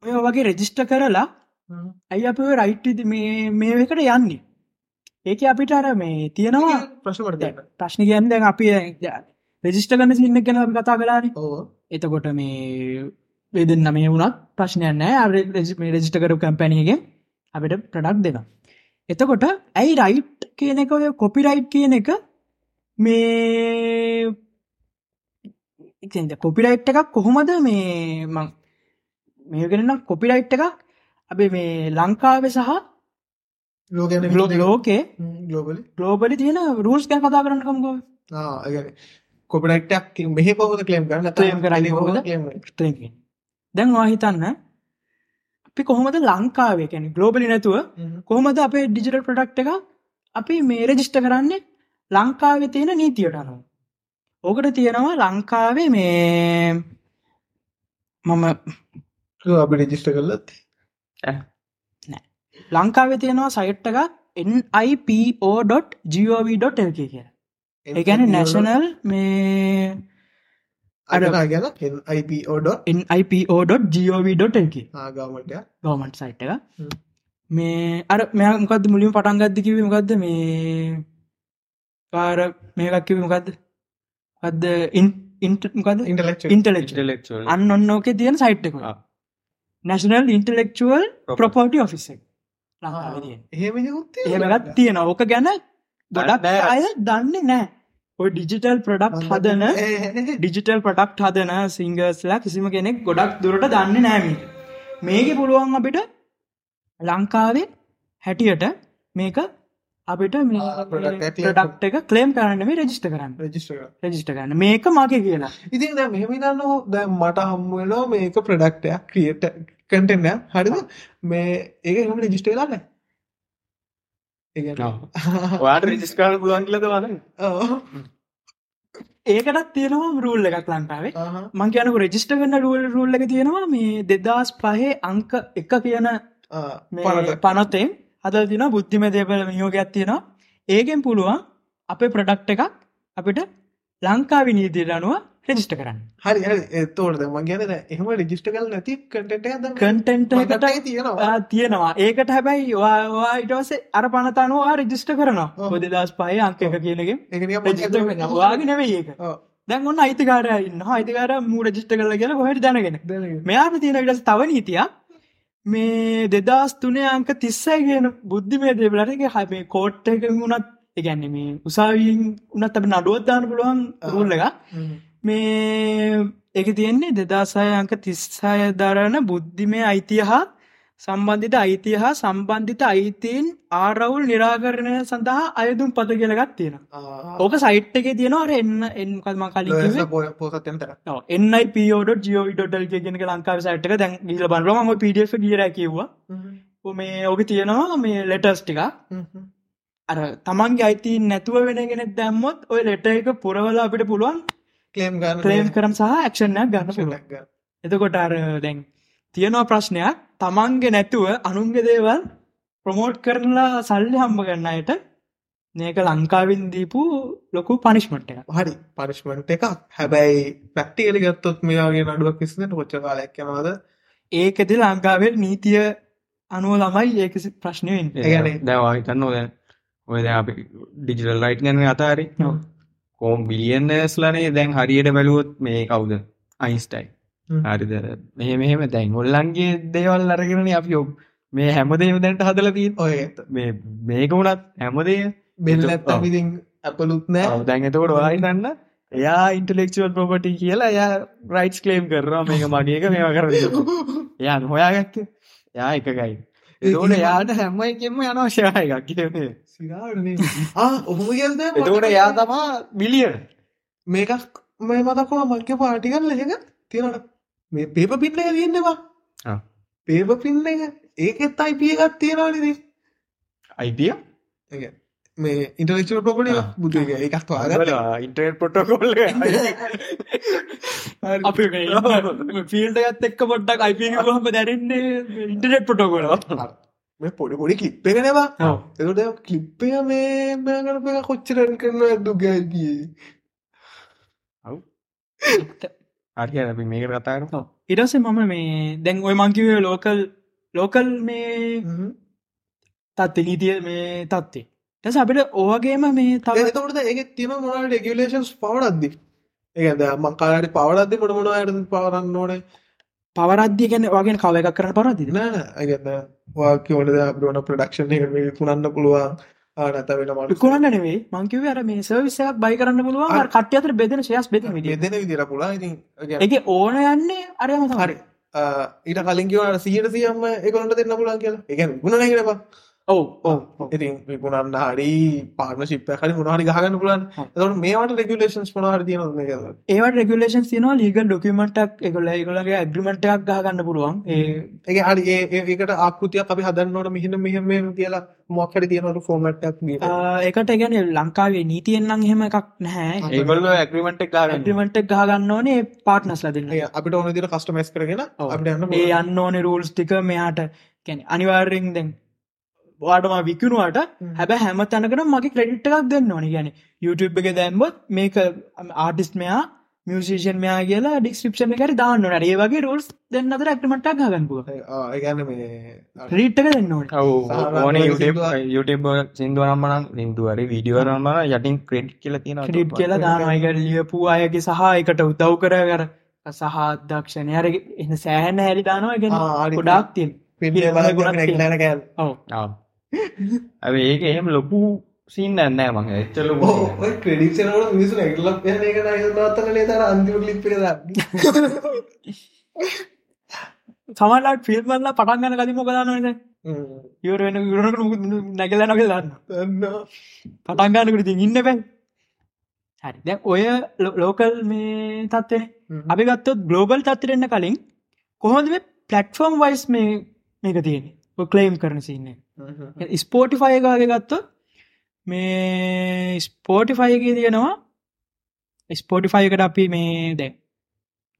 ඔය වගේ රෙජිස්ට කරලා
Mm.
ඇයි අප රයිට් මේ මේකට යන්නේ ඒක අපිට අර මේ තියෙනවා
ප්‍රශ්මට දෙන්න
ප්‍රශ්න කියන්න දැන් අපි රෙජිස්ට කන්න සින්න ගැන අපි කතා කලාන
ඕ
එතකොට මේ වෙදන්න මේ වුණත් ප්‍රශ්නයන්න රෙජිට කරු කැම්පැනියගෙන් අපිට ප්‍රඩක් දෙන. එතකොට ඇයි රයිට් කියන එක ඔය කොපිරයිට් කියන එක මේ කොපිරයිට් එකක් කොහොමද මේ මං මේගෙනනම් කොපිරයිට් එකක් අපේ මේ ලංකාව සහ
ලෝකන
ලෝ- ලෝකේ
ලෝබලි
ගලෝබලි තියෙන රූල්ස් ගැන කතා කරන්නකම්ගෝ
කොපටක් මෙහ පොහොද කලම් කරන්න
Claim කරන්නේ කොහොමද? තැකින් දැන් වාහිතන්න අපි කොහොමද ලංකාවේ කැන ගලෝබලි නැතුව
Mm.
කොහොමද අපේ ඩිජිටල් ප්‍රඩක්් එක අපි මේ රෙජිස්ට කරන්නේ ලංකාවේ තියෙන නීතියට අනුව ඕකට තියෙනවා ලංකාවේ මේ මම
අපි රජිස්ට කරලත්
ලංකාවේ තියෙනවා සයිට් එක nipo.gov.lk කිය ඒගැන නැශනල් මේ
අඩනා ගැන අයිප ඕඩ
nipo.gov.lk
Ah, ආගාමටය
ගෝමන්ට සයිට් එක
හ්ම්.
මේ අර මෙමකද මුලින් පටන්ගත්ද කිවීමකක්ද මේ පාර මේකක් කිවීමකක්ද අද ඉන්ටමකද
ඉන්ටලෙක්
ඉන්ටලෙක්
ඉන්ටලෙක්ල්
අන්න ඔන්නෝක තියෙන සයිට් එක
ආ.
National intellectual
prop
property office
Ah, එහෙම
ඒමකත් තියෙන ඕක ගැන ගොඩක්
බෑ.
අය දන්නේ නෑ ඔය ඩිජිටල් ප්‍රඩක්් හදන
Eh,
ඩිජිටල් පටක්් හදන සිංගර්ස්ලා කිසිම කෙනෙක් ගොඩක් දුරට දන්න නෑමට මේක පුළුවන් අපිට ලංකාවේ හැටියට මේක අපිට
ආ, product එක claim
ප්‍රඩක්් එක කලේම් කරන්න මේ රජිස්ට කරන්න
රජිස්ට
රජිස්ට කරන්න මේක මගේ කියලා
ඉතින් දැ මෙහම දන්නෝ දැ මට හම්මුවලෝ මේක ප්‍රඩක්ටයක් ක්‍රියට කටෙන්න හරිද මේ ඒක හම රජිස්ටේලාන ඒ
වාට රිජිස්කාල පුදන්කිලද වන
ඒකටත් තියෙනවා රූල් එකක් ලංකාවේ මංකයනක රෙජිස්ට කන්න රුවල් රුල්ල එක තියෙනවා මේ දෙදස් පහේ අංක එක කියන මේ පනොතෙන් අද දින බුද්ධිම දේපල මියෝගයක් තියෙනවා ඒකෙන් පුළුවන් අපේ ප්‍රඩක්් එකක් අපිට ලංකාවි නීතියට අනුව රෙජිස්ට කරන්න
හරි හරි තෝට මං ගැන එහම රජිස්ට කල් නැති කට
කටෙන්ටට
තියෙනවා
තියෙනවා ඒකට හැබැයි වා ඉටවස අර පනතනවා රෙජිස්ට කරනවා
ඔව්.
හොද දස් පහේ අංක එක කියලගේ
එකන
වාගෙන නෙවෙයි ඒක දැන් ඔන්න අයිතිකාරය ඉන්න අයිතිකාර මූ රජිස්ට කරල කියලා හොට දැනගෙන මෙයාට තියෙන විටස තව නීතියක් මේ දෙදස් තුනේ අංක තිස්සයි කියන බුද්ධිමේ දේවලට හැබේ කෝට් එක වුණත් එකන්නේ මේ උසාවීන් උනත් අප නඩුවත්දාන්න පුළුවන් රුල්ල එක මේ එක තියෙන්නේ දෙදාසාය අංක තිස්සාය දරන බුද්ධිමය අයිතිය හා සම්බන්ධිත අයිතිය හා සම්බන්ධිත අයිතීන් ආරවුල් නිරාකරණය සඳහා අයදුම් පත කියලගත් තියෙන ඕක සයිට් එක තියෙනවාර එන්න එන්කත්ම කලින් කිව්වේ.
පොසත්තන්තර
එන්නයිපෝඩ.ජෝඩල් කියන ලංකාව සට දැන් ගිල බලම ම පිඩිය ගියර කිව්වා මේ ඕක තියෙනවා මේ ලෙටස් ටික අර තමන්ගේ අයිති නැතුව වෙනගෙන දැම්මොත් ඔය ලෙට එක පුරවල අපිට පුළුවන්
කලේම්
ක්‍රේම් කරම් සහ ක්ෂණයක් ගන්න පුළුවන්
ගන්න
එතකොට අර දැන් තියෙනවා ප්‍රශ්නයක් තමන්ගේ නැතුව අනුන්ගේ දේවල් ප්‍රමෝට් කරනලා සල්ලි හම්බ ගන්නයට මේක ලංකාවින් දීපු ලොකු පනිශ්මට් එක
හරි පරිශ්මට එකක් හැබැයි පැක්ටියලි ගත්තොත් මේයාගේ නඩුවක් කිසිට පොච්ච කාලයක් යනවද
ඒකද ලංකාවෙල් නීතිය අනුව ළමයි ඒක ප්‍රශ්නයෙන්
කියන්නේ-
දැවාහිතන්න ඔද ඔයද අපි ඩිජිටල් ලයිට් ගැන අතාරි
ඔව්.
කෝම් බිලියන්නස්ලනේ දැන් හරියට බැලුවොත් මේ කවුද අයින්ස්ටයි
හ්ම්.
හරිද මෙහ මෙහෙම දැන් ඔල්ලන්ගේ දේවල් අරගෙන අපි ඔබ් මේ හැමදේම දැන්ට හදලදී
ඔය
මේ මේක වුණත් හැමදේ
බෙල්
එතකොට- ඔව්.
ඇත්තවිදිින් ඇපලුත් නෑ
ඔව්, දැන් එතකොට ඔයාහිතන්න එයා ඉන්ටලෙක්ෂුවල් ප්‍රපටි කියලා එයා රයිට්ස් කලේම් කරවා මේක මගේක මේවා කර යා හොයාගත්ත යා එකකයි එතෝට යාට හැම එකෙම යනවශ්‍යය එකක් කියන්නේ
සිරාවනේ. ආ, ඔහොම කියල්ද
එතකොට යා තමා බිලියන
මේකක් මේ මතකම මංක පාටිකල් ලෙක තියෙනට මේ පේප පින්න එක තියෙන්නවා
ආ.
පේප පින්න එක ඒකෙත් අයිපියගත් තියෙනවානද
අයිතිය
මේ ඉන්ටලෙක්ෂල් පොපලි
ආ.
බුදු එකක් වාග
ඉන්ටර් පොටකොල්ල
අපි ෆිල්ට ගත් එක් පොට්ටක් අයිප හම දැරන්නේ ඉන්ටනෙට් පොටකොල
මේ පොඩි පොඩි කිප්පෙනවා
ඔව්.
එකට කිප්පය මේ බෑගනප කොච්චරන් කරන ඇදු ගැල්ගිය
හරි අපි මේක කතාර
ඉරස මම මේ දැන් ඔය මංකිවේ ලෝකල් ලෝකල් මේ තත්ති නීතිය මේ තත්ති තැස අපිට ඕවගේම මේ තව
එතකට ඒ තින මොනට ෙගලේෂන්ස් පවරද්දි ඒද මංකාලට පවරද්දි කොට මොන අයට පවරන්න ඕනේ
පවරද්දි ගැන වගේ කව එකක් කරන පරදිද
නෑ ඇගන්න වාකිවලද බ්‍රෝන ප්‍රඩක්ෂණ එක මේ විකුණන්න පුළුවන් ආනත වෙන මට
විකුණන්න නෙවේ මංකිව අර මේ සවිසයක් බයි කරන්න පුළුවන් අර කට්ට අතර බෙදෙන ශයස් බෙද විඩිය
දෙදෙන විදිර පුලා ඉතින්
එක ඕන යන්නේ අරම හරි
ඊට කලින්කිවට සියට සියම්ම එකකට දෙන්න පුලන් කියලා එක ගුණ නැකිරවා
ඔව ඕ
ඉතින් විකුණන්න හරි පාර්ම ශිප්ය හරි මුණහරි ගහගන්න පුලන් තවට මේට රෙගලේෂන්ස් පනාර තියන කර
ඒවට රෙගලේෂන් තින ලීග ඩොකමටක් එකගොල එකගලගේ ඇග්‍රිමටක් ගහගන්න පුළුවන් ඒ
ඒ හරි ඒ- ඒකට ආකෘතියක් අපි හදන්නට මෙහින මෙහම කියලා මොක්කට තියනට ෆෝමට්ක්
ආ, ඒකට ගැන ලංකාවේ නීතියෙන්න්නම් හෙම එකක් නැහැ
ඒගොල්ල ඇක්‍රමට කාරන්න
ඇග්‍රිමට ගහගන්න ඕනේ පාට්නස් ලදන්න
අපිට ඕන දිර කස්ටමස් කරගෙන
ඔව්.
අපට යන්න
ඒ යන්න ඕනේ රූල්ස් ටික මෙයාට කැන අනිවාර්යෙන් දැන් වාටම විකුණුවට
හ්ම්.
හැබ හැම තැනකට මගේ ක්‍රඩිට් එකක් දෙන්න ඕනි ගැන YouTube එක දැම්බොත් මේක ආටිස් මෙයා මියසිෂන් මෙයා කියලා ඩික්ස්ක්‍රපෂන එකරි දාන්න නට ඒ වගේ රෝල්ස් දෙන්න අතර ඇක්ටමටක් ගන්නපුුව
ඒගැන මේ
්‍රීට්ක දෙන්න ඕන
ඕන යුටබ සිින්දුව නම්මන සිින්දුවරි විඩියෝ නම්බන යටින් ක්‍රෙඩ් කියල තියෙන
ක්‍රඩිට් කියලා දානයකට ලියපු අයගේ සහ එකට උදව් කර කර සහ අධක්ෂණය අර එන්න සෑහන හැරි දානවා ගැන
ආරි
ගොඩක් තින්
පිඩිය බල ගොඩක් නැගනකැන්
ඇ ඒක එහෙම ලොකු සින්න නෑ මහ එච්චල
ක්‍රඩික්ෂනට මිසු එකල ඒකනතකනේ තර අන්තිම ලිප්ි
සමලාට ෆිල්ම්ල්ල පටන් ගන්න කලින් මොකදානවද ඉවර වෙන ගරනට නැගල නගල දන්න පටන් ගන්නකට ති ඉන්න පැන් හරි දැ ඔය ලෝ- ලෝකල් මේ තත්වෙන අපි ගත්තොත් ගලෝබල් තත්තරෙන්න්න කලින් කොහොඳ මේ පලට්ෆෝර්ම් වයිස් මේ මේක තියෙන කලේම් කරන සින්න ස්පෝටිෆය එකගේ ගත්තොත් මේ ස්පෝටිෆයගේ තියෙනවා ස්පෝටිෆයිකට අපි මේ දැ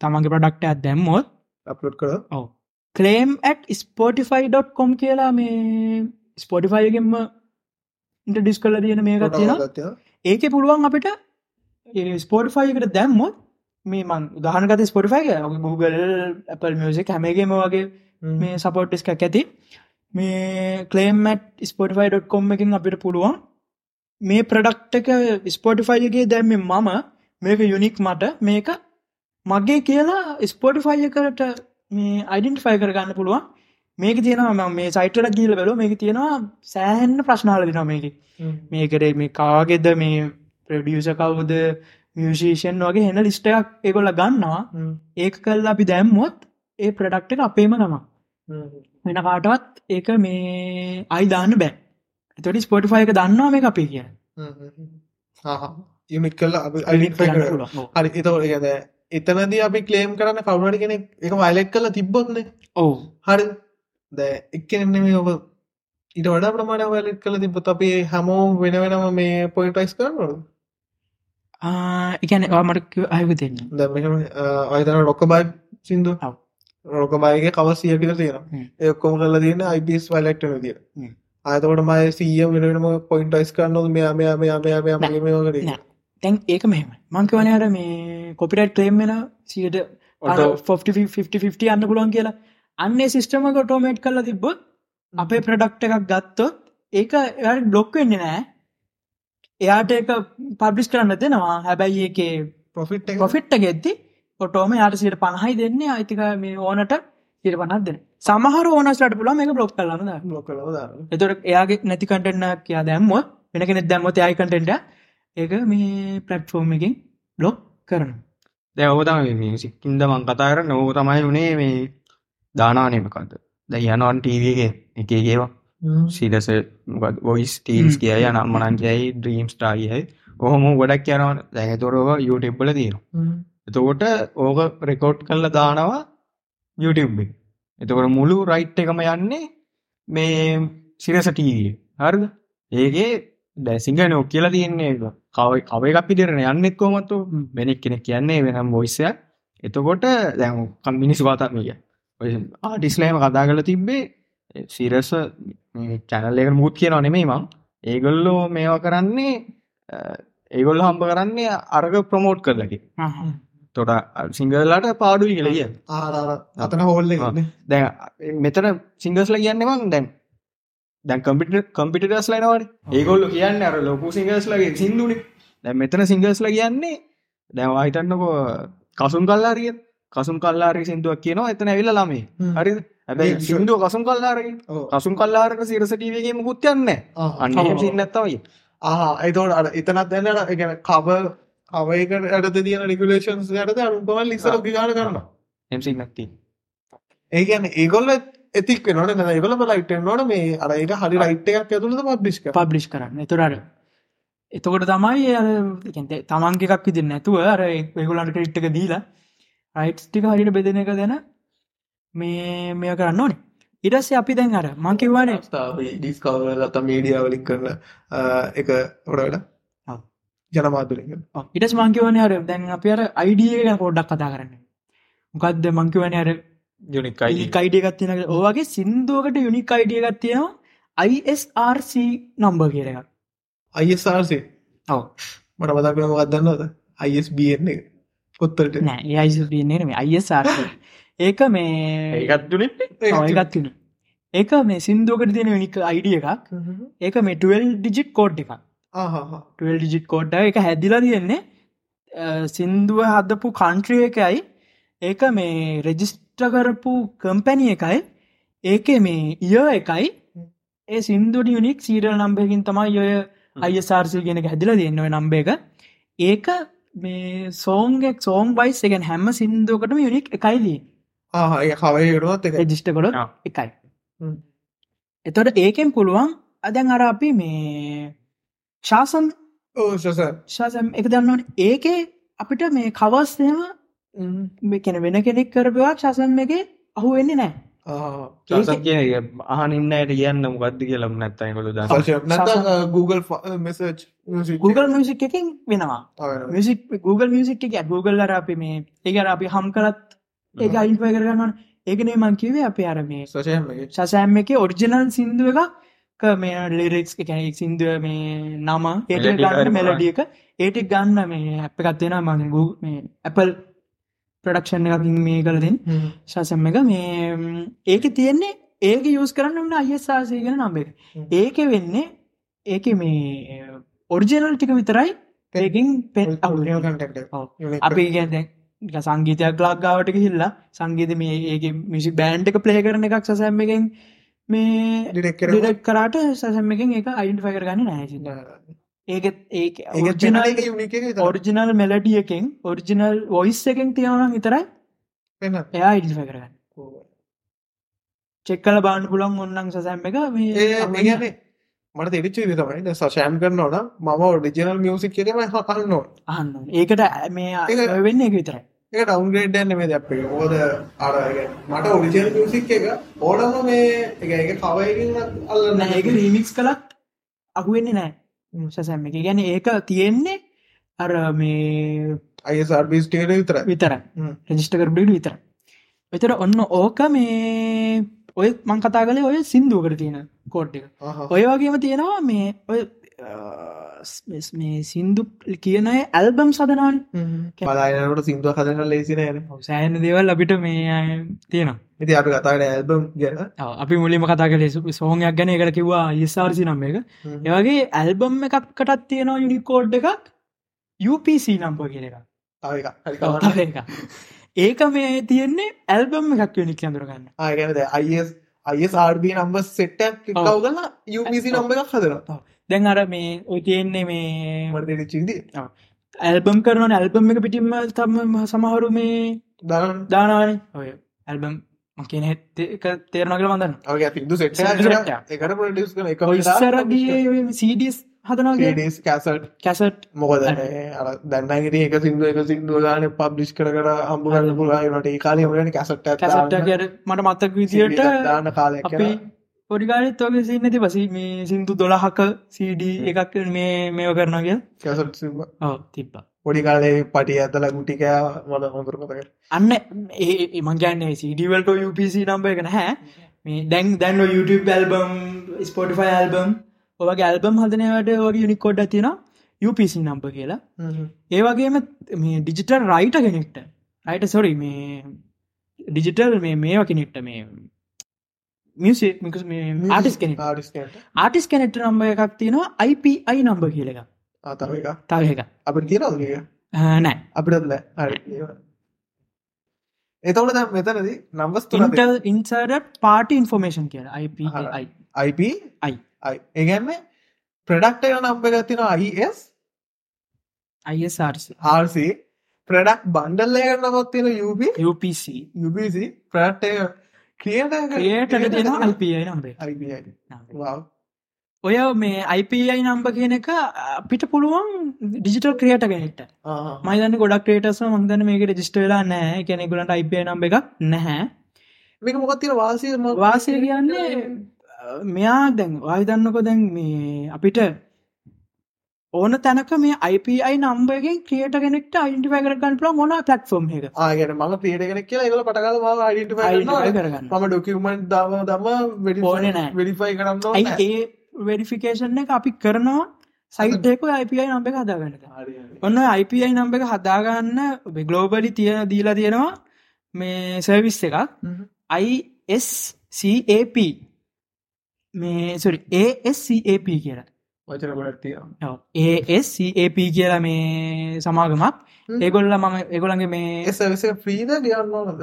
තමන්ගේ ප්‍රඩක්ටයක් දැම්මොත්
අප්ලෝඩ් කර
ඔව කලේම් ඇට් ස්පෝටිෆයි.කොම් කියලා මේ ස්පොටිෆයිගෙන්ම ඉට ඩිස් කල තියෙන මේකත් තියෙන ඒක පුළුවන් අපිට ස්පෝටිෆයිකට දැම්මොත් මේ මන් උදාහනකත ස්පොටිෆයි Google Apple මියසික් හැමගේම වගේ මේ සපෝට්ටිස්ක ඇති මේ කලේමට් ස්පොටිෆයි.කොම් එකින් අපිට පුළුවන් මේ ප්‍රඩක්ටක ස්පොටිෆයිගේ දැම්ම මම මේක යුනික් මට මේක මගේ කියලා ස්පොටිෆයි කරට මේ අයිඩන්ටෆයි කරගන්න පුළුවන් මේක තියෙනවා ම මේ සයිටල ගීල බැලු මේක තියෙනවා සෑහෙන්න ප්‍රශ්නාල දෙනවා මේක මේකරේ මේ කාගෙද මේ ප්‍රඩියස කවුද මියෂේෂන් වගේ හෙන ලිස්ටක් එකොල ගන්නවා ඒක කල් අපි දැම්මුවත් ඒ ප්‍රඩක්ට අපේම නම වෙන කාටවත් ඒක මේ අයිදාන්න බෑ එතොට ස්පොටිෆයක දන්නවා මේ අපේ කිය
යමික් කල්ල හරි එතවට ගැද එතනද අපි කලේම් කරන්න කවුණට කෙනෙක් එක වයිලෙක් කල තිබ්බොත්න
ඕ
හරි දැ එක්කනෙන්න මේ ඔබ ඉට වඩ ප්‍රමාණ වලෙක් කල තිබොත් අපේ හැමෝ වෙන වෙනම මේ පොයිටයිස් කරන්නලු
එකන මට අයකු දෙන්න
දැම අයතන රොක බයි සිින්දු
ඔව්.
රොක බයිගේ කව සියකට තියෙන
හ්ම්.
එක්කොම කල තියන්න අයිපස් වලෙක්ට තිය
හ්ම්.
අතකට මයි සීය වෙනම පොයින්ටයිස් කරන්නොත් මෙයා මෙයා මෙයා මෙයා මෙයා
නෑ.
මගේ මේ වගේ
නෑ. තැන් ඒක මෙහම මංකවන අර මේ කොපිටයිට් ක්‍රේම් වෙන සියට
Auto-
50 අන්න පුළුවන් කියලා අන්නේ සිිස්ටමක ටෝමේට් කල තිබ්බ අපේ ප්‍රඩක්ට එකක් ගත්තොත් ඒක එයාට බ්ලොක් වෙන්න නෑ එයාට එක පබ්ලිස් කරන්න දෙනවා හැබැයි ඒකේ
පොෆිට්
පොෆිට්ට ගෙද්දි ඔටෝම යාට සිට පණහයි දෙන්නේ අයිතික මේ ඕනට සිට පනත් දෙන්න සමහර ඕනස්ලට පුළම මේ බ්ලොක් කරන්න
ලොක දාන්න
එතොට එයාගේ නැති කටෙන්න්න කියා දැම්මොත් වෙන කෙනෙ දැම්මොත් යයි කටෙන්ට ඒක මේ පලට්ෆෝර්ම් එකින් බ්ලොක් කරන
දැ ඔබතම සික්කින්ද මං කතා කරන්න ඕක තමයි වනේ මේ දානානයමකන්ද දැ යනවන් ටීවගේ එකේගේවා සිරස ොයිස් ටීල්ස් කියයි නම්මනන් කියයි ද්‍රීම් ස්ටාගයයි ඔහොම ගොඩක් යනවන් දැහ තොරව යුටබ්බල තියෙන එතකොට ඕක රෙකෝඩ් කල්ල දානවා YouTube එක. එතකොට මුළු රයිට් එකම යන්නේ මේ සිරස ටීවිය හරිද ඒගේ දැසිංහ නෝ කියලා තියන්නේ ඒක. කව කව එකක් පිටරන යන්නෙක් කොමතු වෙනෙක් කෙනෙක් කියන්නේ වෙනම් බොයිස්සයක් එතකොට දැකම් මිනිස් වාතත්මිය ආටිස්ලෑම කතා කල තිබ්බේ සිරස චැනල් එක මුත් කියනවා නෙමේ මං ඒගොල්ලෝ මේවා කරන්නේ අ, ඒගොල්ලෝ හම්බ කරන්නේ අරග ප්‍රමෝට් කරලකි තොට සිංහලට පාඩුයි කියලිය
ආර අතන හෝල්ල
දැන් මෙතන සිංගස්ල කියන්න මං දැන් දැන් කම්පිට කම්පිටස් ලයිනවට ඒගොල්ල කියන්න අර ලොකු සිංහස්ලගේ සිින්දුනි දැ මෙතන සිංහස්ල කියන්නේ දැන්වා හිතන්නකෝ කසුම් කල්ලාරිය කසුම් කල්ලාරි සිින්දුවක් කියනවා එතන ඇවිල්ල ලාමේ හරි ඇැයි
මේ
සිින්දුව කසුම් කල්ලාරගේ කසුම් කල්ලාරක සිරසටීවගේ මුකුත් යන්න අන්න
ඔව්.
සින්නත්තවයි
ආහා එතවට අර එතනත් දැන්න එකන කව අවයකට ඇට තියන රිගලේෂන්ස් යට අරුපම ලිස්සර ගාන කරන්න
එම් සින්නක්ති
ඒකැන ඒගොල්ල ඇතික් වෙනට න ඒගොල ලයිට නොට මේ අර ඒක හරි රයිට්ටයක් ඇතුළද පබ්ිෂ්ක
පබ්ලිෂ් කරන්න එතුරට එතකොට තමයි අරතේ තමන්ගේ එකක් විදි නැතුව අර වෙගුලන්ට ක්‍රිට් එක දීලා රයිට්ස් ටික හරිට බෙදෙන එක දැන මේ මෙය කරන්න ඕනේ ඉඩස්ස අපි දැන් අර මංකිවනේ
ඩිස්කවල ලත මීඩියාවලික් කරන එක ඔඩට
ඔව්.
ජනමාතුලින්
ඉටස් මංකිවන අර දැන් අපි අර අයිඩිය ගැන පොඩ්ඩක් කතා කරන්න මොකක්ද මංකිවන අර
ජනිකයි
කයිඩියගත් තියෙන ඕගේ සින්දුවකට යුනික් අයිඩියගත් තියෙනවා ISRC නම්බ කියර එකක්
අයිසාර්සේ
ඔව
මට පදක්ම මොකක්දන්නද අයිස්බන්න එක පොත්තට
නෑ ඒයිසන්නේ මේ ISR ඒක මේ
ඒකත් දුනෙත්
ඒකත් තියෙන ඒක මේ සින්දුවකට තියෙන යුනික අයිඩිය එකක් ඒක මෙටල් ඩිජිට් කෝඩ් එකක්
ආහා
ටල් ඩිජිට් කෝඩ් එක හැදිලා තියෙන්නේ අ, සින්දුව හදපු කන්ට්‍රිය එකයි ඒක මේ රෙජිස්ට කරපු කම්පැනිය එකයි ඒක මේ ය එකයි ඒ සින්දුට යුනික් සීරල් නම්බයකින් තමයි ඔය අයසාර්සිල් ගෙන හැදිල දෙන්නව නම්බ එක ඒක මේ සෝන්ගෙක් සෝන් බයිස් එකෙන් හැම සින්දුවකටම යුනික් එකයිදී
ආහා ඒ කවයකටුවත් එක
රෙජිස්ට කොල
ආ.
එකයි
හ්ම්.
එතොට ඒකෙන් පුළුවන් අදැන් අර අපි මේ ශාසන්
ඕසස
ශාසම් එක දන්නවට ඒකේ අපිට මේ කවස්සයම කැන වෙන කෙනෙක් කරපවා ශාසම් එක අහු වෙන්නේ නෑ
සසක් කියන එක අහනින්නයට කියන්න මොකක්ද කියලම් නැත්තයි කොළු දන්න
Google මෙසච්
Google මිසික් එකින් වෙනවා මිසික් Google මිසික් එක Google අර අපි මේ ඒක අර අපි හම් කරත් ඒක අයින්පය කරගන්න ඒකනේ මං කිවේ අපි අර මේ
සශයමගේ
සසෑම් එක ඔරිජිනල් සින්දුව එකක් මේ ලිරෙක්ස් කැනෙක් සින්දුව මේ නම එට
Melody
ගන්න
හරි
මෙලඩිය එක ඒට ගන්න මේ අප එකත්වෙන මගේ Google- මේ Apple ප්‍රඩක්ෂන් එකකින් මේ කලදින් සසම් එක මේ ඒක තියෙන්නේ ඒක යස් කරන්න වන්න අයසාසය ගෙන නම්බේ
හ්ම්.
ඒක වෙන්නේ ඒක මේ ඔරිජිනල් ටික විතරයි ඒකින් පෙන් අවුල අපි ගැද සංගීතයක් ලක්ගාවට හිල්ලා සංගීත මේ ඒ මිසි බෑන්් එක ප්ලේ කරන එකක් සසැම් එකෙන් මේ ඩක් කරට සසැම් එකෙන් එක අයින්ට ෆයිකර ගන්න නෑසි ඒක ඒ ජනල් ඔරිජිනල් මෙලඩියකෙන් ඔරිජිනල් වොයිස් එකෙන් තියෙනනම් ඉතරයි එයා ඉඩි කරගන්න චෙක්කල බාන්න පුලන් ඔන්නන් සසැම් එක මේ
ඒගැන මට තෙරිච්ච විතමයිද සශයම් කරනවන මම ඔඩිජනල් මියසික් කියම හකන්නෝ
අහන්න ඕනේ. ඒකට මේ
ඒක-
වෙන්න එක විතරයි
එක ටවන්ගේට න්න මේ දැපේ ඕද අර මට ඔඩිජනල් මියසික් එක ඕඩම මේ එක එක කවයිකින් අල්ලන්න
නෑ, ඒක රීමික්ස් කළත් අහුවෙන්නේ නෑ සසැම් එක ගැන ඒක තියෙන්නේ අර මේ
අය සර්බිස් ටේට විතර
විතර
හ්ම්.
රජිස්ට කරබ්ඩ විතර විතර ඔන්න ඕක මේ ඔය මං කතා කලේ ඔය සින්දුවකට තියෙන කෝට් එක ඔය වගේම තියෙනවා මේ ඔය අ, ස්- මේ සින්දු කියන අය ඇල්බම් සදනාන්
පලායනට සිින්දුව කදන ලේසින න
සෑන දේවල් අපිට මේ අය තියෙනවා
ඉති අපි කතාට ඇල්බම් ගැන
ඔව්, අපි මුලිම කතා කලේ සෝහයක් ගැන එකට කිව්වා E ඒසාර්සි නම් එක ඒවගේ ඇල්බම් එකක්කටත් තියෙනවා යුනිකෝඩ් එකක් UPC නම්ප කියන එක
තව එකක්. හරි කමක් නෑ.
තව එකක්. ඒක මේ තියෙන්නේ ඇල්බම් එකක් යුනික් අඳරගන්න
ආ, ඒ කියන්නේ දැන් IS ISRB number set එකක් click
ඔව්.
out කරලා UPC number එකක් හදනවා.
දැන් අර මේ ඔය තියෙන්නේ මේ
මට දෙවිච්ච විදිය.
ඇල්බම් කරන ඇල්බම් එක පිටිම තම සමහරු මේ
දාන්න.
දානවන ඔය ඇල්බම් මකින හෙත් එක තේරනගල වඳන්න
ඔය කියන්නේ සින්දු set
සින්දු
එකක්
set
කරා.
එකක්.
ඒකට produce කරන එක
ඉස්සරගේ සඩස් හදනගේ
CDs cassette
කැසට්
මොකද මේ අර දැන් නම් ඉතින් එක සින්දු එක සින්දු ගානේ publish කර කර හම්බ කරන්න පුළුවන් ඒකට ඒ කාලේ හොයන්නේ cassette එකක්
කැසට්
දාන්න.
මට මත්තක්
CD
විදියට
එකක් දාන්න කාලයක්
අපි
යනවා.
පොඩිකාලත් වගේ සින්න ති පසි මේ සිින්දු දොළහක සඩ එකක් මේ මේව කරනග
cassette සින්දු.
ඔව තිබ්බ
පොඩි කාලේ පටි ඇතලා ගුටි කෑවා මම හොඳට කතා කරා.
අන්න ඒ මංගන්නේ සිඩවල්ට UPC නම්බ එක නැහැ මේ දැන් දැන් ඔය YouTube ඇල්බම් ස්පොටිෆයි ඇල්බම් ඔවගේ ඇල්බම් හදනවට වගේ යුනිකොඩ් තියෙන UPC නම්බ කියලා
හ්ම්.
ඒවගේම මේ ඩිජිටල් රයිට කෙනෙක්ට රයිට සොරි මේ ඩිජිටල් මේ මේවා කෙනෙක්ට මේ මියසික් ආටිස් කෙනෙක්
Artist කෙනෙක්ට.
ආටිස් කෙනෙක්ට නම්බ එකක් තියෙනවා IPI නම්බ කියල එක
ආ, තව එකක්.
තව එක
අපිට තියෙනවද මේක?
ආ, නෑ
අපිටත් නෑ. හරි. ඒවා. එතකොට දැන් මෙතනදී numbers තුනක්
ඉන්ටල් ඉන්සර්ට පාටි ඉන්ෆෝර්මේෂන් කියල IPI
හරි. IP
I.
I. ඒ කියන්නේ product එක නම් එකක් තියෙනවා IS
ISRC
RC product bundle එක නමක් තියෙනවා UB
UPC
UBC product එක creator එක
යට දෙන IPI නම්බේ
IPI. Wow.
ඔය මේ IPI නම්බ කියන එක අපිට පුළුවන් ඩිජිටල් ක්‍රියට කෙනෙක්ට
ආ.
මයිදන්න ගොඩක් ක්‍රේටස් මන්දන මේක රජිස්ට වෙලා නෑ කෙනෙකුලට IPI නම්බ එකක් නැහැ
මේක මොකක්ද තියෙන වාසිය මම-
වාසය කියන්නේ අ, මෙයා දැන් වාහිදන්නකො දැන් මේ අපිට ඕන තැනක මේ IPI නම්බගෙන් ක්‍රියට කෙනෙක්ට අයින්ටිපය කරගන්න පුළ මොන පලට්ෆෝම් එක
ආ, ඒ කියන්නේ මම creator කෙනෙක් කියලා ඒගොල්ලෝ පටගල මම identify
අයින්ටිපය
කරනවා.
කරගන්න
මම document දාම දාම
ඕනේ
verify
නෑ.
verify කරන්න ඕනේ.
ඇයි ඒ වෙඩිෆිකේෂන් එක අපි කරනවා සයිට්ක IPI නම්බ එක හදාගන්නක
හරි, හරි.
ඔන්න IPI නම්බ එක හදාගන්න ගලෝබලි තියෙන දීලා තියෙනවා මේ සර්විස් එකක්
හ්ම්.
ISCAP මේ සොරි ASCAP කියලා
වචන ගොඩක් තියෙනවා.
ඔව්. ASCAP කියලා මේ සමාගමක්
හ්ම්.
ඒගොල්ල මම ඒගොළන්ගේ මේ
ඒ සර්විස් එක ෆ්‍රීද ලියන්න ඕනද?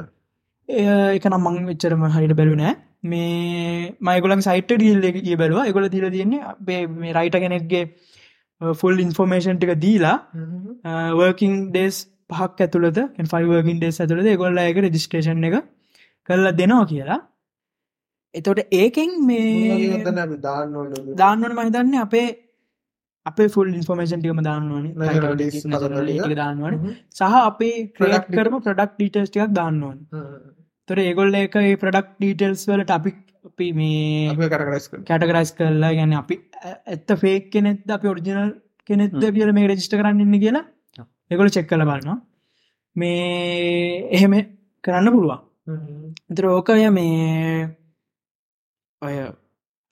එය- එක නම් මං වෙච්චරම හරිට බැලුනෑ මේ මයිගොලන් සයිට ඩිල් එක කිය බැලවා එකගොල දීල තියන්නේ අපේ මේ රයිට කෙනෙක්ගේ ෆුල් ඉන්ෆෝර්මේෂන් ටික දීලා වර්කින් ඩේස් පහක් ඇතුළද ෆයිවර්කින් ඩේස් ඇතුළද ගොල්ල එක රජිස්ටේෂන් එක කරලා දෙනවා කියලා එතොට ඒකෙන් මේ
මොනවද අපි දාන්න ඕනද?
දාන්නවන මහිතන්න අපේ අපේ ෆුල් ඉන්ෆෝර්මේෂන් ටිකම
නේද? ඩේස් හදලා
දාන්නවන
ටික.
දාන්නවන
හ්ම්.
සහ අපේ
Product details.
ක්‍රඩක් කරම ප්‍රඩක්් ඩීටස් ටිකක් දාන්නවන්
හ්ම්.
තොර ඒගොල්ල එක ප්‍රඩක්් ඩීටෙල්ස් වල ටපික් අපි මේ
අපි කරගස්ක
කැටගරයිස් කරලා ගැන අපි ඇ- ඇත්ත ෆේක් කෙනෙත් අප ඔරිජිනල් කෙනෙද කියල මේ රජිස්ට කරන්නන්න කියලා එකොල චෙක් කල බලන්නවා මේ එහෙම කරන්න පුළුවන් එතර ඕකය මේ ඔය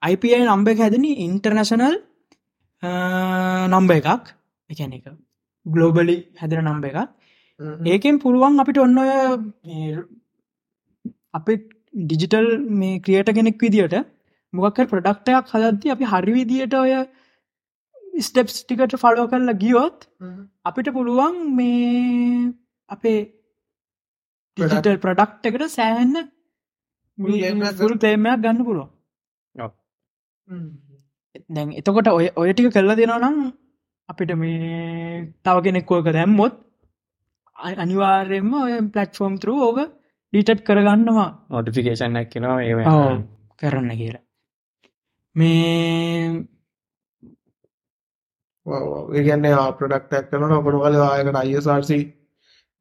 අයිපI නම්බ එක හැදන ඉන්ටර්නශනල් නම්බ එකක් එකන එක ගලෝබලි හැදර නම්බ එකක් ඒකෙන් පුළුවන් අපිට ඔන්න ඔය මේ අපි ඩිජිටල් මේ ක්‍රියට කෙනෙක් විදිට මොකක්කර ප්‍රඩක්ටයක් හදද්දි අපි හරි විදියට ඔය ස්ටප්ස් ටිකට ෆලෝ කරලා ගියොත් අපිට පුළුවන් මේ අපේ
Product.
ඩිජිටල් ප්‍රඩක්් එකට සෑහන්න
මුළු game එකක්
ගුරු තේමයක් ගන්න පුළුව දැන් එතකොට ඔය ඔය ටික කරලා දෙනවා නම් අපිට මේ තව කෙනෙක්කෝක දැම්මොත් අ- අනිවාර්යෙන්ම ඔය පලට්ෆෝම් තර ඕක ඩීටට් කරගන්නවා
නොටිෆිකේෂන් ැක් කෙනවා
ඔව්,
ඒ
කරන්න කියලා මේ
ඒගන්නේ ප්‍රඩක්් ඇක්කන ඔකොට කල ආයකට අයසාර්සි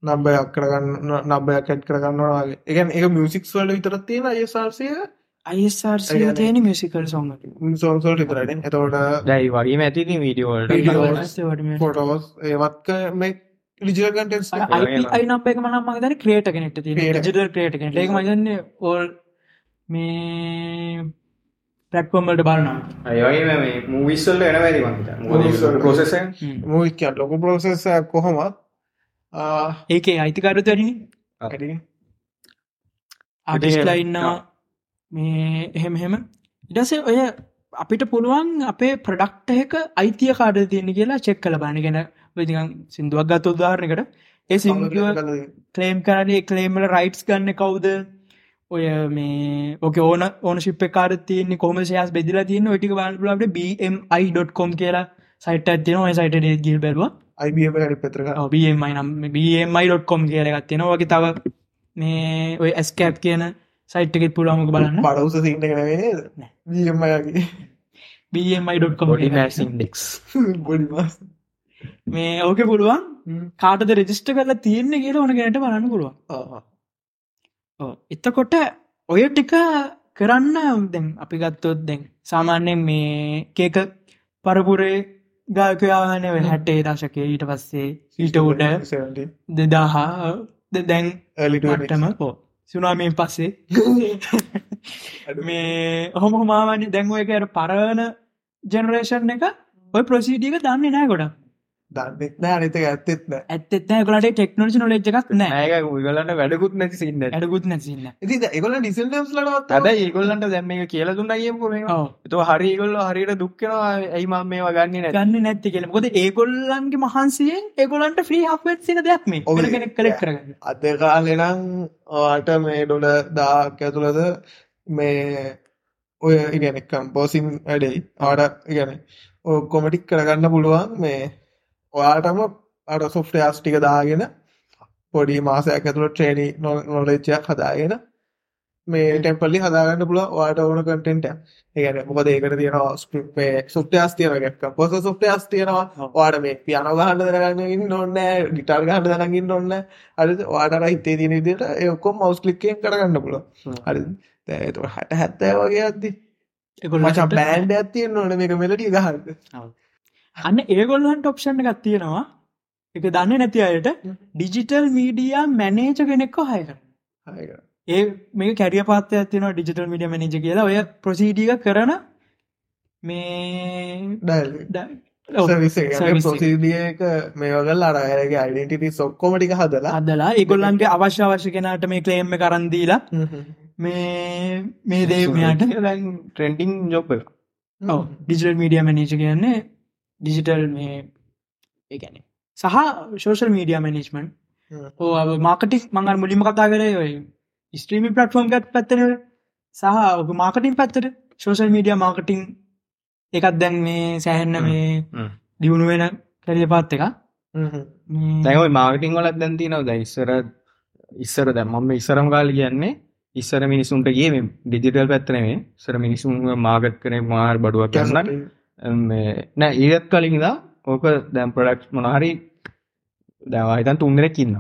නම්බය අක්කරගන්න නබය කැට් කරගන්නවාගේ එකන් එක මියසික්ස් වල විතරත් තියෙන අයසාර්සය ඒ
අයිස්ර්
කියන්නේ-
තියෙන මියසිකල් සොන්ගට
සෝසල්ට විතරට එතවට
දැයි වගේම ඇතිති
Video
වීඩියෝල්ට
වල. පොටෝස් ඒවත්ක මේ ලිජිල කටෙන්ස්
අයින අප එක මනම් මගතන ක්‍රේට කෙනෙට ති
Creator.
ජිටල් ක්‍රේට කෙන ඒක මගන්න ඕල් මේ පටකොම්බලට බලනම්
අයගේ මේ මූවිස්සල්ල එන වැදි
Movies වල.
වන්ට පොසෙසන්
මූවිකන් ලොක පොසෙස කොහොමත්
ඒකේ අයිතිකරුත් වැඩිනි ආටිස්ලා ඉන්නවා මේ එහෙම එහෙම ඉඩසේ ඔය අපිට පුළුවන් අපේ ප්‍රඩක්ට එක අයිතිය කාඩ තියෙන කියලා චෙක් කල බාන ගැන වෙදිකන් සිින්දුවක් ගත් උදාරණකට ඒ සිංදුව කලේම් කරනේ කලේම්ල රයිට්ස් ගන්න කවුද ඔය මේ ඕක ඕන ඕන ශිප් කාර තියන්නේ කොම සයස් බෙදිලා තියන්න ඔටික බලට bmi.com කියලා සයිට ඇතින ඔය සයිට ගිල් බැලවා
අයිබම ට පෙතරක
බමයි නම් bmi.com කියල ගත්තියෙන වගේ තව මේ ඔය ඇස්කැප් කියන සයිට්කෙත් පුළුවමක බලන්න
පඩවස සිට කරේ
නෑ.
දියමයගේ
bmi.com
ගොඩි
කියලා.
මැස් ඉන්ඩෙක්ස්
බොඩි මස්
මේ ඕක පුළුවන් කාටද රෙජිස්ට කරලා තියන්නේ කියලා ඕන ගැනට බලන්න පුළුවන් ඔව්. එතකොට ඔය ටික කරන්න දැන් අපි ගත්තොත් දැන් සාමාන්‍යයෙන් මේ කේක පරපුරේ ගායකයාන වෙන හැටේ දශකය ඊට පස්සේ ඊට උඩ දෙදාහා දැන් මටම පෝ සුනාමෙන් පස්සේ මේ ඔහොම හොමාවන්නේ දැන් ඔය එකට පරණ ජනරේෂන් එක ඔය ප්‍රසිීඩියක දන්නේ නෑ ගොඩ
දන්නෙත්නෑ අනතක ඇත්තෙත්න
ඇත්තත් ගලට ටෙක්නෝජි නොලෙජ් එකක් නෑ
ඒක ගලන්ට වැඩකුත් නැති සින්න
ඇඩකුත් නැසින්න
ඉති එකොල නිසිල්ටම්ස් ලනවත්
ඇබ ඒගොල්ලන්ට දැම්ම එක කියල දුන්න කියපුරේ
ඕ
තු හරිගොල්ල හරිට දුක්කෙනවා ඇයිම මේ වගන්නේ නැ
ගන්න නැති කියල ොද ඒගොල්ලන්ගේ මහන්සියෙන් ඒගොලන්ට ්‍රී හක්වෙත් සින දෙයක් මේ
ඔව්.
ඔගෙන කලෙක් කරගන්න
අදකාලෙනම් ආට මේ ඩොල දාක් ඇතුළද මේ ඔය ඉගැන කම්පෝසිම් වැඩයි ආඩ ඉගැන ඕ කොමටික් කරගන්න පුළුවන් මේ ඔයාටම අඩ සොෆ්ටයාස් ටික දාගෙන පොඩි මාසයක් ඇතුළ ට්‍රේනි නොලෙච්චයක් හදාගෙන මේ ටෙම්පල්ලි හදාගන්න පුළුව වාට ඕන කටෙන්ට ඒගැන මොකද ඒකට තියෙනවා ස්පේ සොෆ්ටයාස් තියනගැක් පොස සොෆ්ටයාස් තියෙනවා වාට මේ පියන ගහන්න දරගන්නගින් නොන්න ගිටර් ගහන්න දරගින් නොන්න අර වාටර හිතේ තියෙන විදිහට ඒ ඔක්කොම මවුස් ක්ලික්කෙන් කරගන්න පුළුවන්
හ්ම්.
හරි දැන් ඒක හට හැත්තෑ වගේ අද්දි මචන්
ඒගොල්ලන්ට-
බෑන්ඩ් එකක් තියෙන්න ඕනේ මේක මෙලඩිය ගහන්න
අන්න ඒගොල්ලන්ට ඔප්ෂණ එකක් තියෙනවා එක දන්න නැති අයට ඩිජිටල් මීඩිය මැනේජ කෙනෙක්කෝ හයක
හරි ඒක.
ඒ මේ කැරිය පාත්තය තින ඩිජිටල් මඩිය මනජ කියලා ඔය ප්‍රසිීඩිය කරන මේ
ඩයල් එක.
ද- ඔව්.
සර්විස් එක කියන්නේ
සර්විස් එක.
ප්‍රොසීඩිය එක මේ වගල් අර අයගේ අයිඩෙන්ටිටිස් ඔක්කොම ටික හදලා
අදලා ඒගොල්ලන්ගේ අවශ්‍ය අවශ්‍ය කෙනට මේ කලේම්ම කරන්දීලා
හ්ම් හ්ම්.
මේ මේ දේමයාට
ට්‍රෙන්ඩිං ජොප්
ඔව ඩිජිටල් මීඩිය මනේජ කියන්නේ ඩිජිටල් මේ ඒගැන සහ ශෝෂල් මීඩිය මනේජ්මන්්
හ්ම්.
ඕ මාකටිස් මඟල් මුලිම කතා කරේ ඔය ස්ත්‍රීමි පටෆෝම් ගත් පැත්තන සහ මාකටින් පැත්තට ශෝෂල් මීඩිය මාකටිං එකත් දැන් මේ සෑහෙන්න
හ්ම්.
මේ
හ්ම්.
දියුණු වෙන කැරිය පාත් එක
හ්ම් හ්ම්.
තැයි මාගටින් වලත් දැන්ති නව ද ඉස්සර ඉස්සර දැම්මම ඉස්සරම් කාල කියන්නේ ඉස්සර මිනිසුන්ට ගේ ඩිජිටල් පැත්තනේ සර මිනිසුන් මාගට් කනේ මාර් බඩුවක් කරන්න නෑ ඒත් කලින්දා ඕක දැම් ප්‍රඩක්් මොනහරි දැවහිතන් තුන්දරෙක් ඉන්න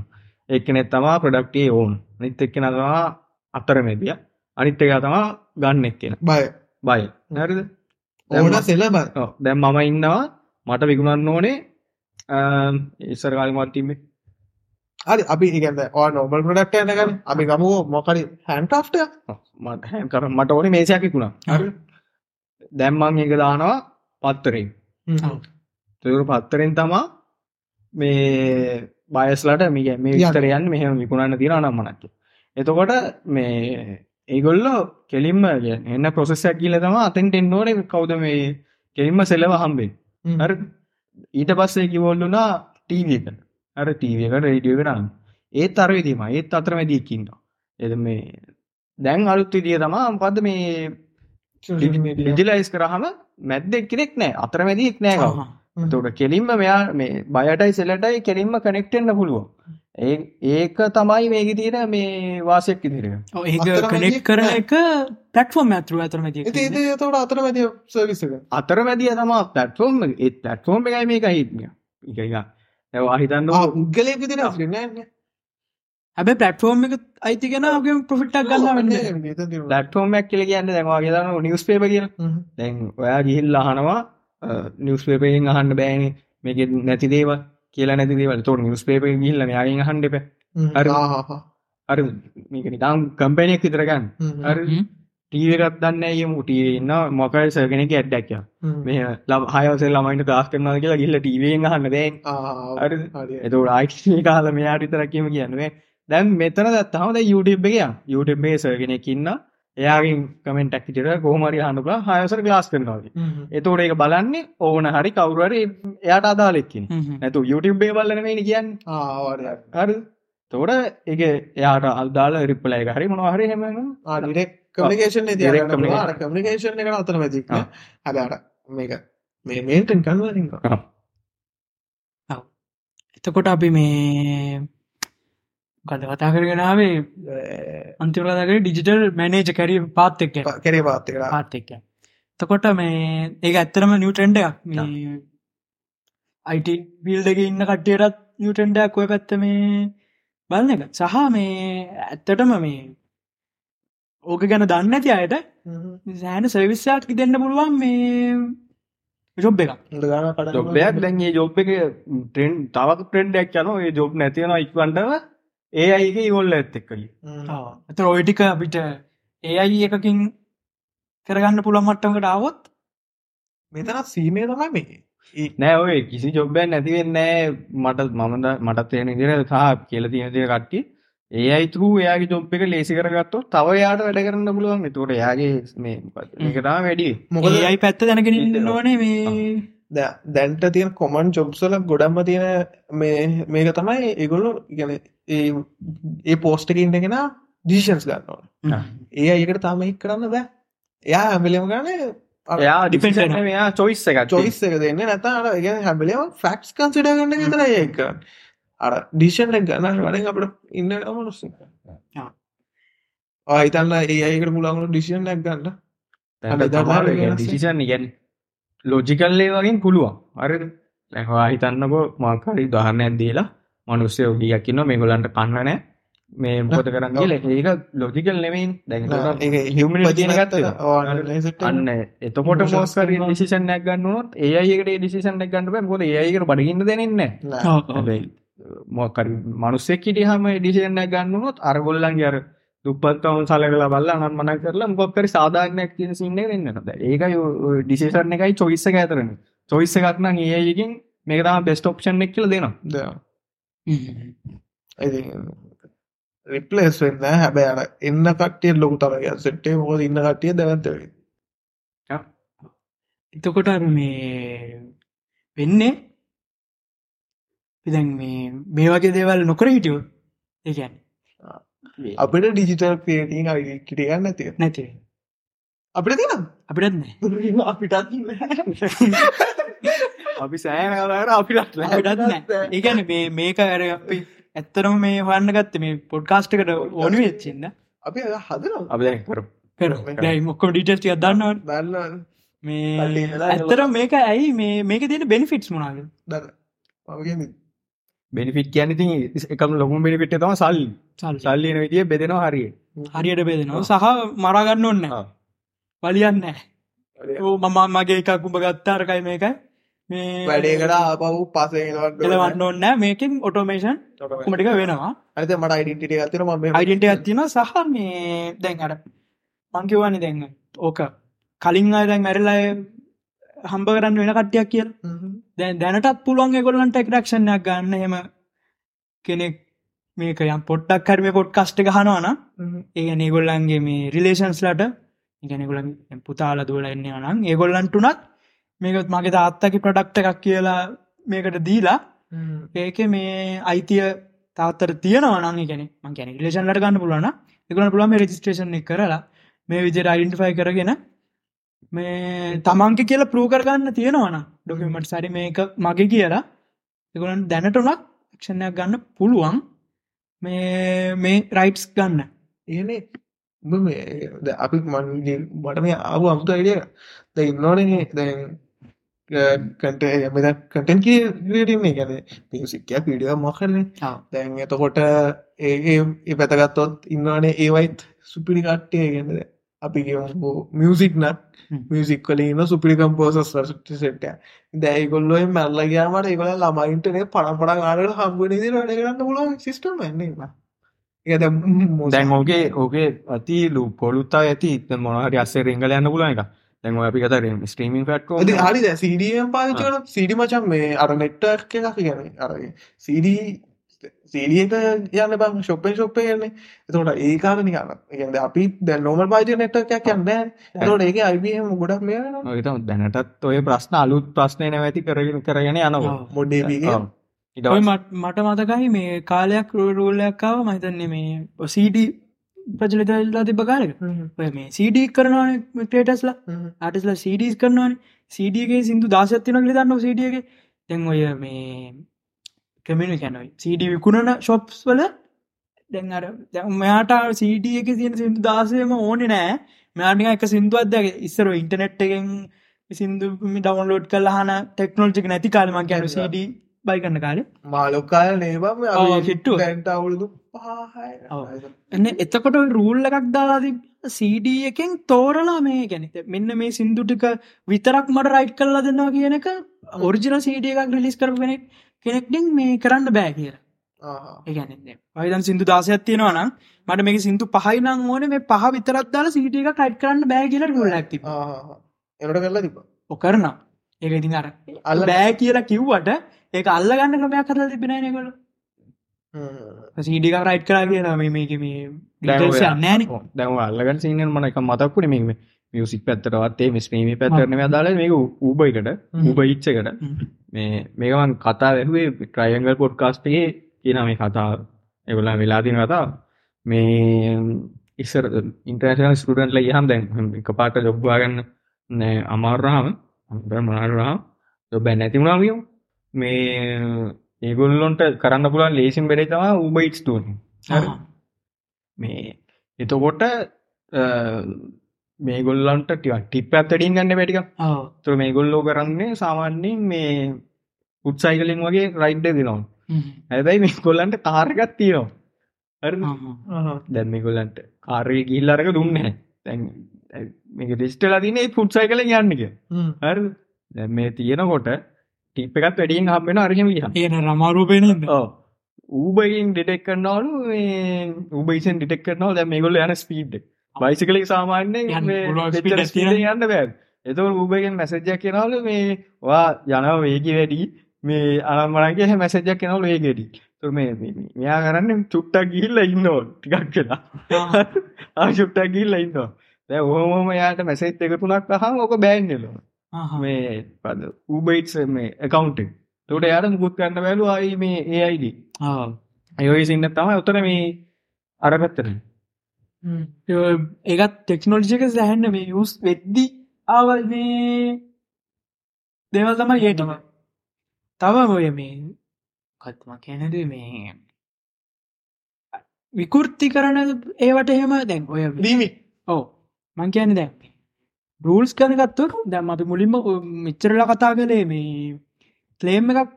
එක්කනෙ තමා ප්‍රඩක්ටේ ඕවන් නිත් එක්ක නතවා අතර මැදිය අනිත් එක තමා ගන්නෙක් කියෙන
බය
බයි නැරද
ඕන සෙලබ
දැම් මම ඉන්නවා මට විකුණන්න ඕනේ ඉස්සර කාලමත්තිීම
හරි අපි ඉගන්න ඕ නොබල් ප්‍රඩක්ට යනකන් අපි ගමුව මොකරි හැන්ට්‍රෆ්ට
මට හැම් කර මට ඕනේ මේසයක් විකුණා දැම්මං එක දානවා පත්තරෙන් තුරු පත්තරෙන් තමා මේ බයස්ලට මිග මේ විස්තරයන් මෙහම විකුණන්න තිර නම්මනක්ක එතකොට මේ ඒගොල්ලෝ කෙලින්ම එන්න ප්‍රොසෙස්සයක් කියල තම අතෙන් ටෙන්නෝන කවුද මේ කෙලින්ම සෙලව හම්බෙන් හර ඊට පස්සේ කිවොල්ලුනා ටීවකට අර ටීවකට රේඩිය කරන්න ඒත් අර විදීම ඒත් අතර මැදීකින්නවා එද මේ දැන් අලුත් විදිිය තමා පද මේ ලිජිලයිස් කරහම මැද්දෙක් කෙනෙක් නෑ අතර මැදික් නෑ කවම තොට කෙලින්ම මෙයා මේ බයටයි සෙලටයි කෙලින්ම කනෙක්ටෙන්න්න පුළුවන් ඒ ඒක තමයි මේක තියෙන මේ වාසයක් ඉදිරිය
ඒ කනෙක් කරන එක පටෆෝර්ම් ඇතුර ඇතරම
ඉති තවට අතර මැති සවිසක
අතර මැදිය තමා පටෆෝර්ම් ඒ පටෆෝර්ම් එකයි මේක හිත්මිය එකක අහිතන්න
උද්ගලය විදිර න්න
හැබ පටෆෝර්ම් එක අයිතිගෙන ගේ පොෆිට්ටක් ගන්න වෙන්න
පටෆෝර්ම්මක් කියල කියන්න දැවා කියන්න නිියස් පේප කියෙන දැන් ඔයා ගිහිල් අහනවා නිියස් පේපයෙන් අහන්න බෑන මේක නැති දේව කියලා නැති දේවල් තොට නිියස් පේප ගිල්ල යාගෙන් හන්ඩප අර- අර මේක නිතාම් කම්පැනයක් විතරගන්න අර ටීවකත් දන්න ඒ මුටියන්න මොකල් සර්ගෙනක ඇඩ්ඩැක්ය මේ ලබ හයවසල් ළමයිට දස් කරනා කියලා ගිල්ල ටීවෙන් හන්න දැන් අර එතට ආයික්ෂය කාල මෙයාට විතරක්කීම කියන්නුවේ දැන් මෙතන දත්තහම යුටබ් එක යුටබ් මේ සර්ගෙනෙකින්න එයාගින් කමෙන්ට ක්ටිට කෝමරි හනුලා හයවසර ගලාස් කරනාව එතෝට ඒක බලන්නේ ඕන හරි කවුරුවර එයාට අදාලෙක්කින් නැතු යුටබ්බේ බලනවෙනි කියන්න හරි තෝට එක එයාට අල්දාල රිප්ලය හරි මොනහරි හෙම
කමිකේෂන්
Direct communication.
කමිකේෂන් එකට අතර මැති
ආ.
හදාට මේක මේ මේටෙන් කන්වරින්
එතකොට අපි මේ ගද කතා කරගෙනාවේ අන්තිවලදක ඩිජිටල් මැනේජ කැරි පාත් එක්ක
කරේ පාත්තකට
පාත් එක්ක තකොට මේ ඒක ඇත්තරම නිියටන්ඩ අයිට බිල්ඩක ඉන්න කට්ටියටත් නිියටන්ඩක් ඔය පැත්ත මේ බලන එක සහ මේ ඇත්තටම මේ ඕක ගැන දන්න ඇති අයට සෑන සවිස්සාට්කි දෙන්න පුළුවන් මේ ජොබ් එකක්
ගන
ජොබ්බයක් දැන්ගේ ජොබ් එක ටෙන්් තවක් ප්‍රෙන්ඩ්ඩක් යන ඒ ජොබ් නැතියෙන ඉක්වන්ටව ඒ අයික ඉවොල්ල ඇත්තෙක් කලි
ඇත ඔයිටික අපිට ඒ අයි එකකින් කරගන්න පුළ මට්ටකට ආවොත්
මෙතන සීමේ තමයි මේ
නෑ ඔය කිසි ජොබ්බයක් නැතිවෙන්නෑ මට මමද මටත් තියෙන දිර සහ කියල තියෙන තිය කට්ටි ඒ අයිතු එයාගේ ජොබ් එක ලේසි කරගත්තු තව යාට වැඩ කරන්න පුළුවන් තුට යාගේ මේ එකටා වැඩි
මොකද
ඒ අයි පැත්ත දැනගෙන ඉන්න ඕනේ
ආ.
මේ
දැ- දැන්ට තියෙන කොමන් ජොබ්සල ගොඩම්ම තියෙන මේ මේක තමයි ඒගොල්ලු ගැන ඒ පෝස්ටක ඉන්නගෙන ඩිෂන්ස් ගන්නවා
ආ.
ඒ අයකට තාම හික් කරන්න බෑ එයා හැමිලිම ගන
එයා
depends
ඩිපෙන්ට
වෙනවා.
මෙයා චොයිස් එක
චොවිස් එක දෙන්න නැතට ඒ හැමිලිම ෆක්ස් කන්සිඩ ගන්න තර ඒක අර ඩිෂන් ගන්න වැඩෙන් අපට ඉන්න මනුස්ස
ආ.
ආහිතන්න ඒ අයකට මුලගුණු ඩිසින් ලැක් ගන්න හැබැයි දවල් වෙනස් වෙයි.
ඩිසිෂන් ගැන් ලෝජිකල්ලේ වගේ පුළුවන් අර ලැහවා හිතන්නකෝ මාකරි දහරණයක් දීලා මනුස්සය ඔගියක් කියන්න මේගොලන්ට කන්නනෑ මේ මොකද කරන්න කියල ඒක ලෝජිකල් නෙමයින් දැන්
ඒ
humanity කියන
ගත්ත
ගත්තද? අන්න එතකොට
emotions
මෝස්කර
තියෙනවා.
ිසිෂනයක් ගන්නනොත් ඒඒකට ඩිසිෂන් එකක් ගන්නට පොද ඒකට බඩිගන්න දෙනෙන්න මොකර මනුස්සෙක් හිටියහම ඩිසිෂනයක් ගන්නනොත් අරගොල්ලන්ගේ අර දුපත්කවන් සලකල බල්ල අනන් මන කරලා මොක්කරි සාධාරනයක් තියෙන සින්න වෙන්නට ඒක ඩිසිෂන එකයි චොයිස්සක ඇතරන චොයිස්ස එකක්නම් ඒයකින් මේක තම බෙස්ට ඔප්ෂන් එක් කියල දෙනවා
ඉති රිප්ලස් වෙන්න හැබැ අර එන්න කටිය ලොකු තරග සෙට්ටේ මොකද ඉන්න කටිය දැවන්තව
එතකොට අර මේ වෙන්නේ පිදැන් මේ මේ වගේ දේවල් නොකර හිටියෝ ඒකැන්
අපිට ඩිජිටල් පේටින් කිටිගන්න ඇතිය
නැති
අපිට
අපිටත් නෑ
තින අපිටත්
අපි සෑර අපිට
අපිටත් නෑ. ඒ කියන්නේ මේ මේක අර අපි ඇත්තරම මේ හොන්න ගත්ත මේ පොඩ්කාස්ට් එකට ඕන වෙච්චින්න
අපි හදනවා
අපි දැන් කරු
කර දැයි මොක්කොම ඩීටස් එකක් දන්නවනේ.
දන්න
මේ ඇත්තර මේක ඇයි මේ මේක තියෙන බෙනිෆිට්ස් මොනාද
දන්න මගේ
බෙනිෆිට් කියන්නඉතින් එකම ලොකු බිනිිට තම සල්ලි
සල්ලි.
සල්ලියන විදිිය බෙදෙනවා හරිය
හරියට බේදෙනවා සහ මරාගන්න ඔන්න
ආ.
වලියන්න ඕ මම මගේ එකක් උඹ ගත්තාරකයි මේකයි මේ
වැඩේ කලා පව් පසේ
එලවන්න ඔන්න මේකින් ඔටෝමේෂන් කොමටික වෙනවා
අත මට අයිඩටිය ගතන ම
අයිඩෙන්ට ඇත්තින සහ මේ දැන් අට මංකිවන්නේ දැන්න ඕක කලින් අයදැන් මැරල්ලය හම්බ කරන්න වෙන කට්ටයක් කියල දැන් දැනටත් පුළුවන් ගොලන්ට එක්රක්ෂණයක් ගන්න හෙම කෙනෙක් මේක යම් පොට්ටක් කරම පොට් කස්ට ගහනවාන ඒ නිගොල්ලන්ගේ මේ රිලේෂන්ස්ලට ඉගැනගොලන් පුතාල දුවල එන්නේ නම් ඒගොල්ලන්ටුනත් මේකත් මගේ තාත්තකි ප්‍රඩක්ට එකක් කියලා මේකට දීලා ඒක මේ අයිතිය තාත්තර තියනවන ගැන මගැන ලේෂන්ලට ගන්න පුලන එකන පුළම රජිස්ට්‍රේෂන් එක කරලා මේ විජයට අයිඩන්ටිෆයි කරගෙන මේ තමන්ක කියල පරූකරගන්න තියෙනවන ඩොකමට සරි මේක මගේ කියලා එකන දැනටනක් ක්ෂණයක් ගන්න පුළුවන් මේ මේ රයිට්ස් ගන්න
ඒන උඹ මේ ද- අපි මන් ගිහින් මට මේ ආපු අමුතු අයිඩිය ද ඉන්නෝනේ දැන් කට මෙද කටන් කියීම ගැන පිසිකයක් විඩිය මොකරන
ආ.
දැන් එතකොට ඒ පැතගත්තොත් ඉන්නවානේ ඒවයිත් සුපිරි කට්ටය ගැනද අපි කියමු මියසික් නක්
හ්ම්.
මියසික් කලන්න සුපිරි කම්පෝසස් සට දැයිගොල්ලොයි මැල්ලගයාමට ඒකොල ළමයින්ටනේ පනපට ගානට හම්බුණ දි වැඩ කරන්න පුලුවන් සිිස්ටම් වන්නේ ඒ
දැන් ඕගේ ඕගේ අති ලු පොලුත්තා ඇති මොනහරි අස්සේ රිංගල යන්න පුලන එක දැන් ඔය අපි කතර ස්ට්‍රීමින් ෆට්කෝ
ඇති හරි දැ සිඩියම් පාචන සිඩි මචන් මේ අර නෙට්ටර්ක් එකක් ගැන අර සිඩී සීඩියට යන්න බං ශොප්පෙන් ශොප්පය කියන්නේ එතකොට ඒකාල නිකාල ගැද අපි දැ නෝමල් පාජ නෙට්ටක් කියන්න තොට ඒක අයිබම් ගොඩක් මේ
තම දැනටත් ඔය ප්‍රශ්න අලුත් ප්‍රශ්නය නැවැති කරගෙන කරගෙන යනවා
මොඩ්ඩේ
ඔය මට මට මතකයි මේ කාලයක් රූරූල්ලයක්කාව මහිතන්නේ මේ සීඩ ප්‍රජලිතල්ලා තිබ කාලක ඔය මේ සීඩී කරනවා ටේටස්ලා ආටස්ල සීඩස් කරනවාන සීඩියගේ සිදු දශත්තින ලිදන්න සිඩියගේ තැන් ඔය මේ කමින කැනයි සීඩ විකුණන ශොප්ස් වල දැන්ර මෙයාට සීඩිය එක තියෙන සිදු දාසයම ඕනෙ නෑ මෙයාටික එක සිින්දුවත්දගේ ඉස්සර ඉන්ටනෙට් එකෙන් සිදු ඩවන්ලෝඩ් කල් හන ටෙක්නෝජික නැති කාලමක් ගැන සඩ බයිගන්න කාල
මාලොකාල නේබම
ඔව්, කිට්ටු.
දැන්ට අවුලුදු පහයි
ඔව්. එන්න එතකොට රූල් එකක් දාලාති සීඩ එකෙන් තෝරලා මේ ගැනත මෙන්න මේ සින්දු ටික විතරක් මට රයිට් කරලා දෙන්නවා කියන එක ඔරිජින සීඩ එකක් රිලිස් කරගෙනෙක් කෙනෙක්ටින් මේ කරන්න බෑ කිය
ආහා.
ඒගැන වයිදන් සිින්දු දාසයක් තියෙනවා නම් මට මේ සිින්දු පහයිනම් ඕන මේ පහ විතරත් දාලා සීට එක ටයිට් කරන්න බෑ කියල ගොල ඇති
ආහා. එනට කරලා තිබ
ඔකරන ඒක ඉතින් අර
අල්ල-
බෑ කියලා කිව්වට ඒක අල්ලගන්න ක්‍රමයක් කරලා තිබෙනනකොල සීඩික රයිට් කරා කියලා මේ මේක මේ
දැන් ඔය-
නෑන
දැව අල්ලගට සිීනන් මන එක මතක්කුණ මේ මියසික් පැත්තරවත්තේ මිස්්‍රීමි පැත්තරන දාලා මේක උබයිකට
හ්ම්.
උබ ඉච්චකට මේ මේකවන් කතා වැැහුවේ ට්‍රයිංගල් පොඩ්කාස්ටේ කියන මේ කතා එවලා වෙලාදින කතා මේ ඉස්සර ඉන්ටර්නශන ස්කටන්ටල යහම් දැන් එක පාට ජොබ්වාගන්න නෑ අමාරහම මනාරහම් බැ නැතිමුණාමියෝ මේ ඒගොල්ලොන්ට කරන්න පුළන් ලේසින් බෙරේ තවා උබයිට්ස්ටූන් මේ එතකොට අ, මේගොල්ලන්ට ටික ටිප් ඇත්තටින් ගන්න පැටික තුර මේගොල්ලෝ කරන්නේ සාමාන්‍යෙන් මේ උත්සයිකලින් වගේ රයිඩ්ඩ දෙනවා ඇැයි මේ කොල්ලන්ට කාර්ගත් තියනවා හරි දැන් මේ කොල්ලන්ට කාරය ගිල්ලරක දුන්න තැන් මේ ඩිස්ටල තින පුත්සයි කල යන්නක හරි දැන් මේ තියෙනකොට ටිප් එකත් වැඩියෙන් හම්බෙන අරහෙම ිය
ඒන රමාරූපයනද
ඌබයින් ඩිටෙක් කරනවලු ඌබයිසන් ඩිටෙක් කරනව දැ මේගොල යන ස්පීඩ් බයිසිකලි සාමාන්‍යෙන්
යන්න පුළුවන් speed එකක් තියෙනවා.
යන්න බෑ එතව ඌබගෙන් මැසජයක් කෙනවලු මේ වා යනව වේගි වැඩි මේ අනම්මනගේ මැසජක් කෙනවල ඒගෙඩි තු මේ මේ- මේ- මෙයා කරන්න චුට්ටක් ගිල්ල ඉන්නෝ ටිකක් කියලා ආශුට්ටක් ගිල්ල ඉන්නවා දැ හෝම යාට මැසේත් එක තුනක් හම ඕක බෑන්නෙලෝ මේ පද ඌබයිට්ස මේ එකකවන්ට් තොට යාට මුකුත් කරන්න බැලු අයි මේ ඒ අයිඩී අයෝයි සින්න තමයි උතර මේ අර පැත්තර
ඒත් ටෙක්නෝජික සැහන්න මේ යස් වෙද්දි ආවල් මේ දෙවල් තමයි ඒටම තව ඔය මේ කත්ම කැනද මේ විකෘති කරන ඒවට එහෙම දැන් ඔය
දීමි
ඕ මං කියන දැන් රූල්ස් කරනගත්තු දැම් අපි මුලින්ම ඔය මෙච්චරලා කතා කළේ මේ ක්ලේම් එකක්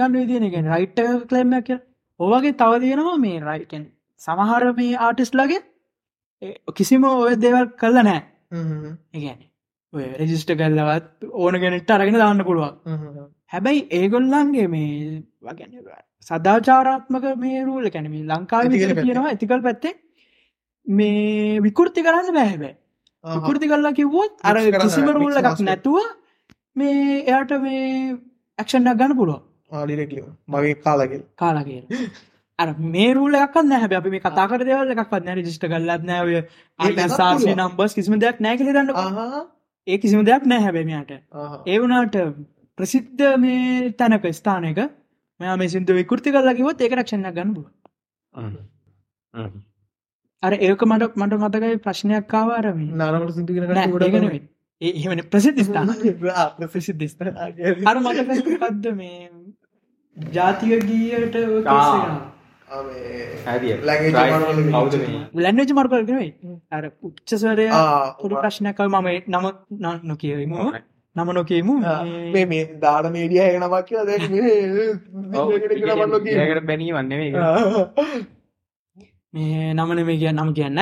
ගන්න විදිනගෙන් රයිට් කලම කිය ඔවගේ තව තියෙනවා මේ රයිටෙන් සමහර මේ ආටිස් ලගේ ඒ කිසිම ඔය දෙවල් කල්ල නෑ ඒගැන ඔය රෙජිස්ට කල්ලවත් ඕන ගෙනෙට අරගෙන දාන්න පුළුවන් හැබැයි ඒගොල්ලන්ගේ මේ වගැන සදාචාරාත්මක මේ රූල කැනම ලංකාව
Ethical පැත්තේ.
කියනවා ඇතිකල් පැත්තේ මේ විකෘති කරන්න බැහැබැ විකෘති කල්ලා කිව්වොත් අර
Mix කරන්න
කිසිම
බෑ, mix
රූල්ල එකක්
master.
නැතුව මේ එයාට මේ ඇක්ෂන්ක් ගන්න පුළුව
ආඩිරෙක්ලිය මගේ කාලගෙල්
කාලාගේ අර මේ රූල එකක් නැහැබ අපි මේ කතා කර දෙවල් එකක් න රජිස්ට කල්ලත් නෑය
ඒක එකක්
ශාසය
පුළුවන්.
නම්බස් කිසිම දෙයක් නෑකෙ දන්න
ආහා
ඒ කිසිම දෙයක් නෑ හැබැමට
ආහා.
ඒ වුණට ප්‍රසිද්ධ මේ තැනක ස්ථානක මෙයා මේ සිින්දු විකෘති කල්ලකිවොත් ඒක රක්ෂණ ගන්න බල අර ඒක මට මට මතකයි ප්‍රශ්නයක් කාවාරම
නානමට සිටි
ඒමන ප්‍රසිද්ධ ස්ථාන
ප්‍රසිද්ධ
අර මට පද්ද මේ ජාතික ගීයට
ආ.
ලැන්වජ මර්කල්ගනයි අර උච්චසරය පොඩි
ආ
ප්‍රශ්නයක්කල් මම ඒ නම න- නොකියමු නම නොකේමු මේ-
මේ මේ දාන මේඩිය එක නමක් කියලා දැන් මේ- මේකට කියලා මම කියන්නේ.
ඒකට බැනී වන්නේ
මේ නමන මේ කිය නම කියන්න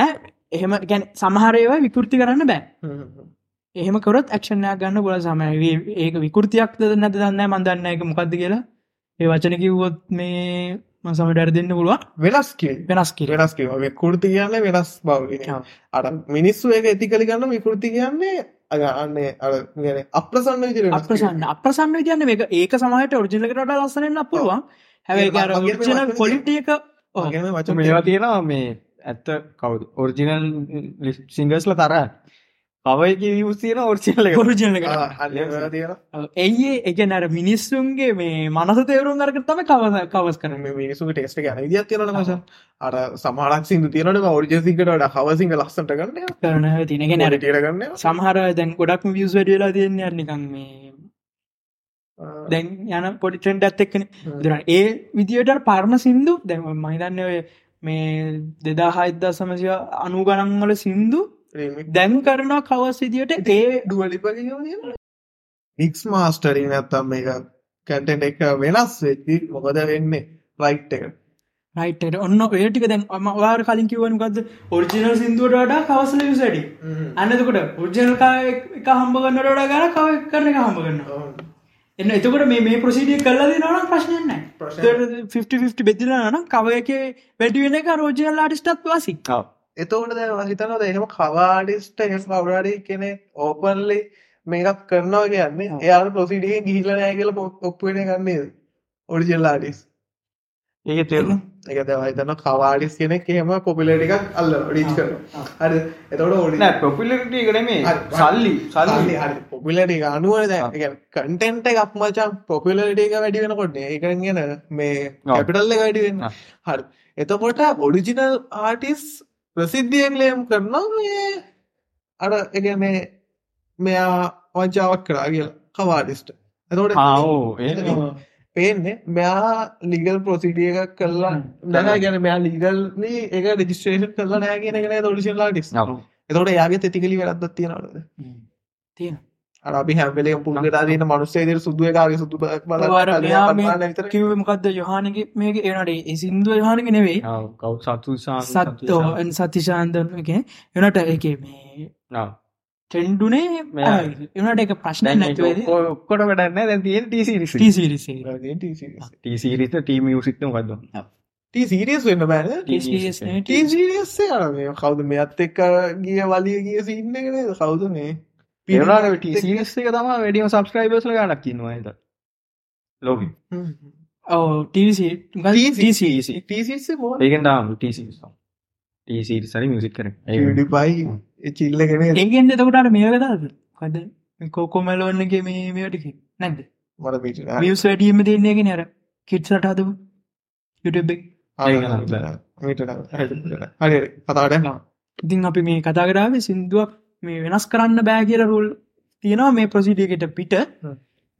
එහෙම ගැන සමහරයව විකෘති කරන්න බෑ එහෙම කරොත් ක්ෂණයක් ගන්න ගොල සමයි ඒක විකෘතියක් ද නැද දන්න මන්දන්න එක මොකක්ද කියලා ඒ වචන කිව්වොත් මේ මසමට අර දෙන්න පුළුවන්
වෙනස් කිය
වෙනස් කිර
වෙනස් කිය විකෘති කියන්න වෙනස් බව
ඔව්.
අර මිනිස්සු ඒක ඇතිකලි ගන්න විකෘති කියන්නේ අර අන්නේ අර ගැන අප්‍රසන්න විදිර
අප්‍රසන්න අප්‍රසන්න විදයන්න මේ ඒක සමහට ඔරිජිනලකට ලස්සනන්න පුළුවන්
ඒක මම
හැබැයි
මගේ
ඔරිජිනල්
මතකෙ
පොලිටියක
වචන
මේවා තියෙනවා මේ ඇත්ත කවුද ඔරිජිනල් සිංගස්ල තර පවයි ියස් තියෙන ඔරිසිල්ල
ඔරිජිනලකට
අ තියෙන
ඇයිඒ එක නර මිනිස්සුන්ගේ මේ මනස තේරුම් අරකට තම කව කවස් කරන
කරන මිනිසු ටෙස්ට ගැන විදිත් තියෙනට මස අර සමාරක් සිදු තියෙනට ඔරිජසිකට ඩ හවසිංහ ලස්සට කරන්න
කරන තිනගෙන නැර
ටට කරන්න
සමහර දැන් ගොඩක් වියස් වැඩියලා තියන්න නිකන් මේ දැන් යන පොඩි ට්‍රෙන්ඩ් ඇත් එක්කන දර ඒ විදියට පර්ම සින්දු දැන් මහිතන්න ඔය මේ දෙදා හයිද්දා සමසය අනු ගණන්වල සින්දු දැන් කරනවා කවස් විදියට ඒ
ඩුවලිප ඉක්ස් මාස්ටරී නැත්තම් මේ කැටට එක වෙනස් වෙච්චි මොකද වෙන්නේ රයිට් එක
රයිටට ඔන්න ඒටික දැන් අමවාර කලින් කිවනුකක්ද ඔරිජිනල් සිින්දුවට වඩා කවසල විසඩි අන්නතකොට ඔරිජනල්කා එක හම්බ ගන්න ඩා ගන කව කරන එක හම්බ ගන්න එන්න එතකට මේ මේ ප්‍රසිඩිය කල්ලද නන ප්‍රශ්නයන්න
ප්‍රශ්නයක්
50 බෙදිල නම් කවයක වැඩිවෙන එක රෝජනල් ආටිස්ටත් වසි
එතවට දැ හිතනද එහෙම කවාඩිස්ට එස් අවරාඩි කෙනෙ ඕපන්ලි මේකක් කරනවා කියන්නේ එයාට ප්‍රසිඩිය ගිහිලනෑ කියල ඔප්පුෙන ගන්නේ ඔරිජල්ලාඩිස්
ඒක තෙරු
එක දවහිතන කවාඩිස් කෙනෙක් එහෙම පොපිලටිකක් අල්ල ඩිච් කර හරි එතවට ඕඩි
පොපිලිට ඒකට මේ
හරි.
සල්ලි සල්ලි
පොපිලටි අනුවර කටෙන්ට එකක් මචන් පොපිලටක වැඩි වෙනකොට එක ගෙන මේ කැපිටල්ල වැඩිවෙන්න
ආ.
හරි එතකොට ඔඩිජිනල් ආටිස් ප්‍රසිද්ධියෙන් ලේම් කරනවා මේ අර එක මේ මෙයා වංචාවක් කරා කියල කවාඩිස්ට එතකොට
ආවෝ ඒ
පේන්නේ මෙයා ලිගල් ප්‍රසිටිය එකක් කරලා නැ ගැන මෙයා ලිගල් එක රජිස්ට්‍රේෂන් කරලා නෑගෙන ගෙන ොඩිසිල්ලා ටිස් එතකොට යාගේ තෙතිකලි වැරද්දත් තියෙනවද
තියෙන
අර අපි හැම්වෙලේ පුල්ගලා දන මනුස්සේදර සුදුව කාරය සුදු
වාර කිව මොකක්ද යොහනක මේක ඒනට ඒ සින්දුව යොහනක නෙවෙයි
කව් සතු
සත්තෝ සතිශාන්දරන එක එනට එක මේ ටෙන්ඩුනේ
මෙයා.
එනට එක ප්‍රශ්න නැතුවද
ඔක්කොට වැඩන්න දැ තියෙන ටීසිරි
ටීසිරිසේ
ටීසිරිත ටීම සික්න වද
සීරියස් වෙන්න බෑන ටීසිරියස්සේ අරමය කවුද මේ අත් එක්ක ගිය වලිය ගිය සින්න කන කවුද මේ
පෙරාට ටීසිරිස්සක තම වැඩියම සබස්ක්‍රයිබස්ල ගනක් කින්නවා ඇත ලෝක
ඕ ටීසි
ටීසිේ මෝ
ඒකෙන් දාම ටීසි ටීසිරි සරි මියසික් කර
ඩිපයි චිල්ලගෙන
ඒගෙන් එතකොටට මේකදාද කද කෝකොමැලෝන්නගේ මේ මේටික නැද
මර පිට
මියස් වැඩීම දෙන්නේක නර කිට් සටහතු යුටබෙක්
හරි කතාට
ඉතින් අපි මේ කතා කරාව සිින්දුවක් මේ වෙනස් කරන්න බෑ කියල රුල් තියෙනවා මේ ප්‍රසිඩියකට පිට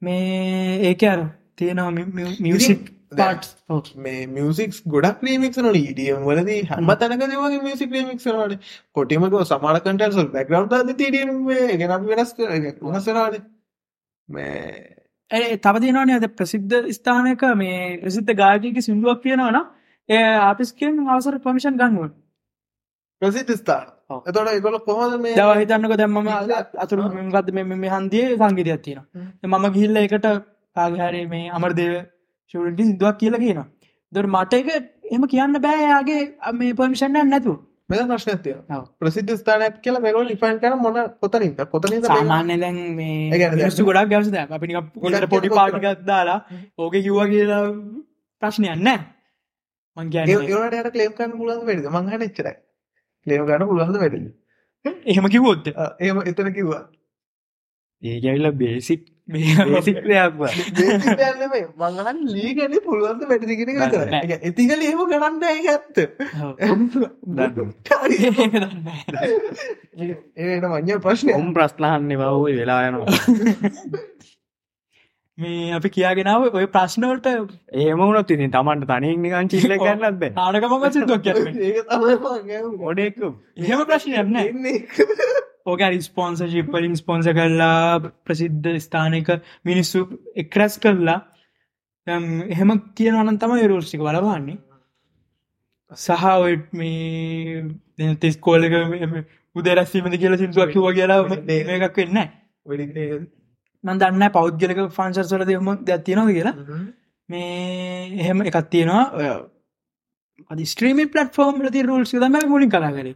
මේ ඒක අර තියෙනවා මියසික් පාට්
මේ මියසික් ගොඩක් E ්‍රීමික් න ඩියම් වලද හම තැනක දවගේ මියසික් ්‍රීමික් නට කොටිමක සමාර E කටල් බැක්්‍රව් ද ටඩම් ගෙනක් වෙනස් කර වෙනසරාට මේ
ඒ තවදිනවාන ඇද ප්‍රසිද්ධ ස්ථානක මේ ප්‍රසිද්ධ ගායකයක සිින්දුවක් කියනවන ඒ ආපිස්කෙන් අවසර පමිෂන් ගන්නුව
ප්‍රසිද්ධ ස්ථාන
ඔව්.
එතොට එකගොල කොහොද මේ
දව හිතන්නක දැම්ම අතුරු ගද මේ හන්දිය සංගීතයක් තියෙන මම ගිල්ල එකට කාගහරේ මේ අමරදේව ශවරටි සිදුවක් කියල කියන දොර මට එක එම කියන්න බෑයාගේ මේ පමිෂණ නැතු
මෙ ප්‍රශ්නතිය
ඔව්.
ප්‍රසිද්ධ ස්ථානයක් කියල මෙගොල ලිපන් කන මොන කොතරින්ද කොතන
සාමාන්‍ය දැන්
ඒ
මේ
කියන්නේ දැන්-
මිනිස්සු ගොඩක් ගැවස දැ අපි නිකන් පොඩි පොඩි පාටිකත් දාලා ඕක කිව්වා කියලා ප්‍රශ්නයන්න මං කියන්නේ
ඒවට යට ලේම් කන්න පුලන් වැඩ මංහන එච්චරයි ලේම් ගන්න පුළහඳ වැඩල
එහෙම කිවොත්
ඒම එතන කිව්වා
ඒකැවිල්ල බේසික්
මේක්වා
මංහන් ලීගැන පුළුවන්ද වැඩිගෙන කර ඉතික ලේම කරන්න ඒ ඇත්ත ඒට මං්ඥ ප්‍රශ්නය
ඔම් ප්‍රස්්ලාහන්න බවයි වෙලා යනවා
මේ අපි කියාගෙනාව ඔය ප්‍රශ්නවලට
ඒම වුණොත් ඉතින් තමන්ට තනින් නිකන් චිල්ල ගන්නත් බෑ
නාඩකමක සිදුවක් කියන්නේ
ඒක තමයි මං ඇහුවේ.
ගොඩෙක්කු
එහෙම ප්‍රශ්නයක්න
එන්නේ.
ඕක රිස්පොන්සශිප් වලින් ස්පොන්ස කරලා ප්‍රසිද්ධ ස්ථානක මිනිස්සු එක්රැස් කරලා දැන් එහෙම කියනවන තම යුරෝෂික වලවන්නේ සහ ඔය මේ දැන් තෙස්කෝලක උදරැස්වීමද කියලා සිින්දුවක් කිව කියලා මේ එකක් වෙන්න
වෙඩින්නේ ඒක.
මන් දන්න පෞද්ගලක ෆාන්සර්සල දෙම දැත්තිනොද කියලා මේ එහෙම එකක් තියෙනවා අද ස්ත්‍රීමි පට ෆෝර්ම් ති රුල් දම මුලින් කලා කර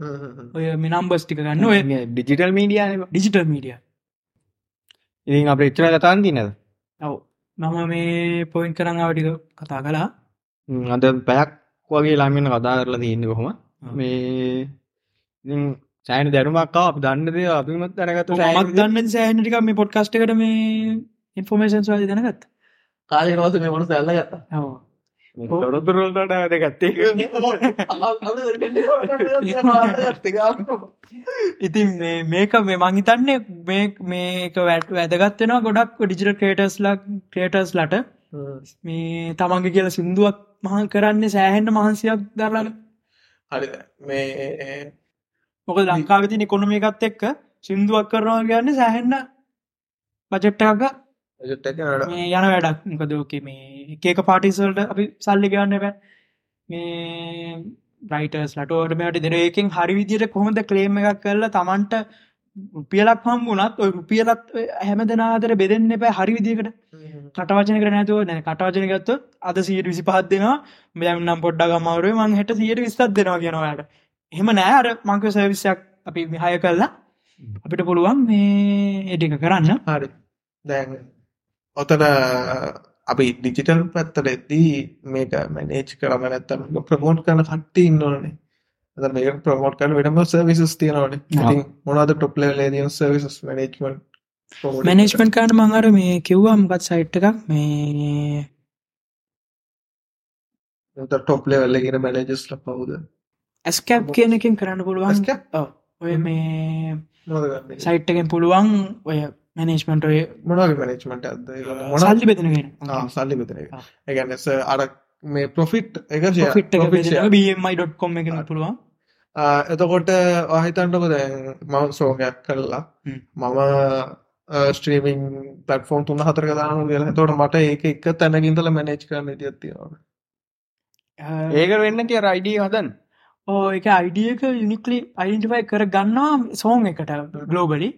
ඔය මිනම්බස් ටික ගන්න ඔය
ඩිජිටල් මීඩියන
ඩිජිටල් මීඩිය
ඉතින් අප එච්චර කතාන් තිනද
ඔව මම මේ පොයින් කරංාවටික කතා කලා
අද පැයක් වගේ ලාමින කතා කරලා තියන්න කොහොම මේ ඉතින් සෑන දැනුමක්කා අප දන්න දේ අපිමත් දැනගත
මක් දන්න සෑහනටික මේ පොඩ්කස්ටකට මේ ඉන්ෆෝර්මේෂන්ස් වාද දැනගත්
කාලේ රවස මේ මොන සැල්ල ගත්තා
තොරතුරල්ට ගත්තේ
ඉතින් මේ- මේක මේ මංහිතන්නේ මේ මේක වැට වැදගත්වෙනවා ගොඩක් ඩිජිට ක්‍රේටර්ස් ලක් ක්‍රේටර්ස් ලට මේ තමන්ග කියල සිින්දුවක් මහන් කරන්නේ සෑහෙන්ට මහන්සියක් දරලන්න
හරි මේ
මොක ලංකාවතින කොනම එකත් එක්ක සිින්දුවක් කරනවා කියන්න සෑහෙන්න බජට්ටක
ජොට්ටක නඩ
මේ යන වැඩක් මොකද ඕකේ මේ එකක පාටිසල්ට අපි සල්ලි ගන්න බෑ මේ බ්‍රයිටර්ස් ලටෝට මෙට දෙන ඒකින් හරි විදියට කොහොඳ කලේම එකක් කරලා තමන්ට රුපියලක් හම් වුණත් ඔය රුපියලත් ඔය හැම දෙනාදර බෙදෙන්න එපෑ හරි විදිකට කටවචන කර නැතුව නෑ කටවචන ගත්ත අද සීට විසි පහත් දෙෙනවා මෙයම්නම් පොඩ්ඩා ගමවරුව මං හට සියට විස්තත් දෙෙනවා කියෙනවාට එහෙම නෑ අර මංක සවිසයක් අපි විහය කරලා අපිට පුළුවන් මේ එඩික කරන්න
හරි දැන් ඔතන අපි ඩිජිටල් පැත්තට එද්දී මේක මැනේච් කරම නැත්තම ප්‍රමෝට් කරන කට්ටි ඉන්නවනේ ඇත මේ ප්‍රමෝට් කරන වෙනම සර්විසස් තියනවනේ ඉතින් මොනවද ටොප්ලේ දිය සර්විසස් මනේජ්මන්
මැනේජ්මන්් කාඩ මංහර මේ කිව්වාමගත් සයිට් එකක් මේ
ටොප් ලෙවල්ලගෙන මැනජස්ල පවුද
ඇස්කැප් කියනකින් කරන්න පුළුවන්
Ascap?
ඔව්. ඔය මේ
මොනදගන්න
සයිට්ටකෙන් පුළුවන් ඔය මැනේජ්මන්ට ඔය
මොනගේ මනේජ්මට අද මොන
සල්ලි බෙදනගෙන
සල්ලි විතර
ආ.
ඒගැනස අර මේ ප්‍රොෆිට් එක share-
ෆිට්
profit share.
බමයි.කොම් එකන පුළුවන්
ආ, එතකොට ආහිතන්නක දැන් මම සෝගයක් කරලා
හ්ම්.
මම ස්ට්‍රීමිං පටෆෝන් තුන්න හතර දාන කියලා තොට මට ඒක එක තැනගින්දල මැනේච් කරන තියත්තිවා
අ,
ඒක වෙන්න කිය රයිඩිය හදන්
ඕ එක අයිඩියක යුනික්ලි අයිඩටිෆයි කර ගන්නවා සෝන් එකට ගලෝබලි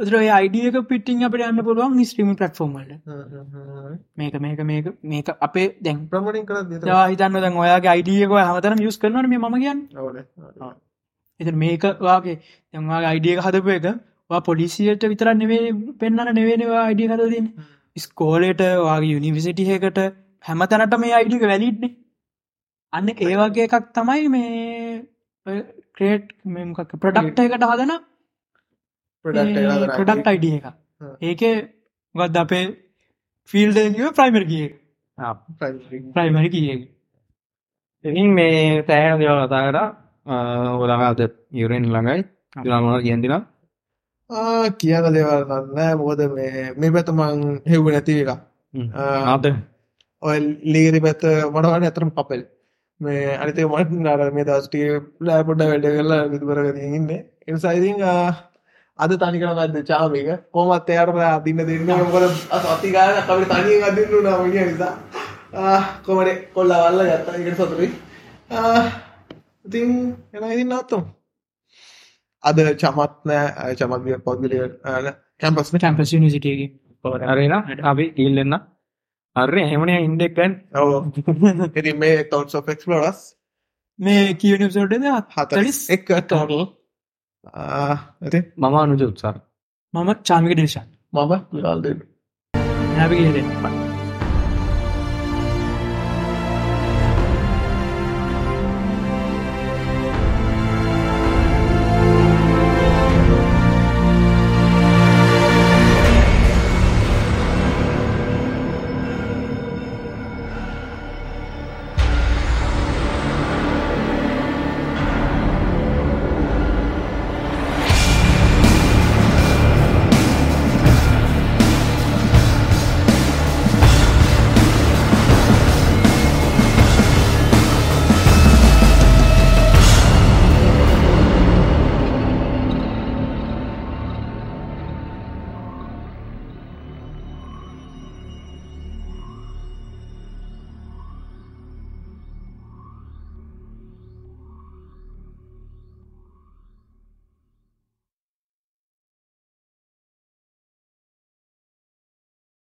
උදරයි අයිඩියක පිටිං අපට යන්න පුළුවන් ස්ට්‍රීම පටෆෝර්මල්ට මේක මේක මේක මේක අපේ දැන්
ප්‍රමණින් කර ද
හිතන්න දැන් ඔයාගේ අයිඩියක හමතරම් යුස් කරනට මේ ම කියන්න එත මේකවාගේ දැන්වාගේ අයිඩියක හදපු එක වා පොලිසියට විතරන්න නෙවේ පෙන්න්න නෙවෙනවා අයිඩිය කරදින් ස්කෝලට වගේ යුනිවිසිටිහකට හැම තැනට මේ අයිඩික වැලිට්නේ අන්න ඒ වගේ එකක් තමයි මේ ක්‍රේට් මෙමක් ප්‍රඩක්ට එකට හදන ප්‍රඩක්් අයිඩිය එක
හ්ම්.
ඒක ගත් අපේ ෆිල්ඩ ප්‍රයිමර් කිය ප්‍රයිමරි කිය
ඉතින් මේ තෑහන දෙවල් කතා කර හොදාගත යුරෙන් ළඟයි ලාමන කියන්දිලා
කියන දෙවල් නන්න මොකද මේ මේ පැතමං හෙව්ව නැතිව එක ආ,
ආත
ඔය ලීරි පැත්ත මටවන ඇතරම් පපෙල් මේ අනිතේ මට නර මේ දස්ටිය ලෑපොඩ වැඩ කරලා විදුරගතිය ඉන්න එනිසායිතිං අද තනිකරම අද චාමික කොමත් එයාට අදින්න දෙන්න මොකද සතිකාර කවි තනියෙන් අදින්න වුණා මිනිහ නිසා කොමඩේ කොල්ලා වල්ලා ගත්තා ඒකට සතුටුයි ආ, ඉතින් එනවා ඉතින් නවත්තමු අද චමත් නෑ චමත් විය පොඩ්ගලිය කැම්පස් නේ
කැම්පස් නිසිටගේ
අරන අපි ඉල්ලන්න අර හෙමනය ඉන්ඩෙක්කන්
ඔව් ඉතින් මේ thoughts of explorers
මේ කියනිසටද
හතලිස්
හතලිස්
එක total ආ, ඉතින්
මම අනුජ උත්සාර
මම චාමික දේශන්
මම විරල් දෙන්න
හැපි කියලෙන් ප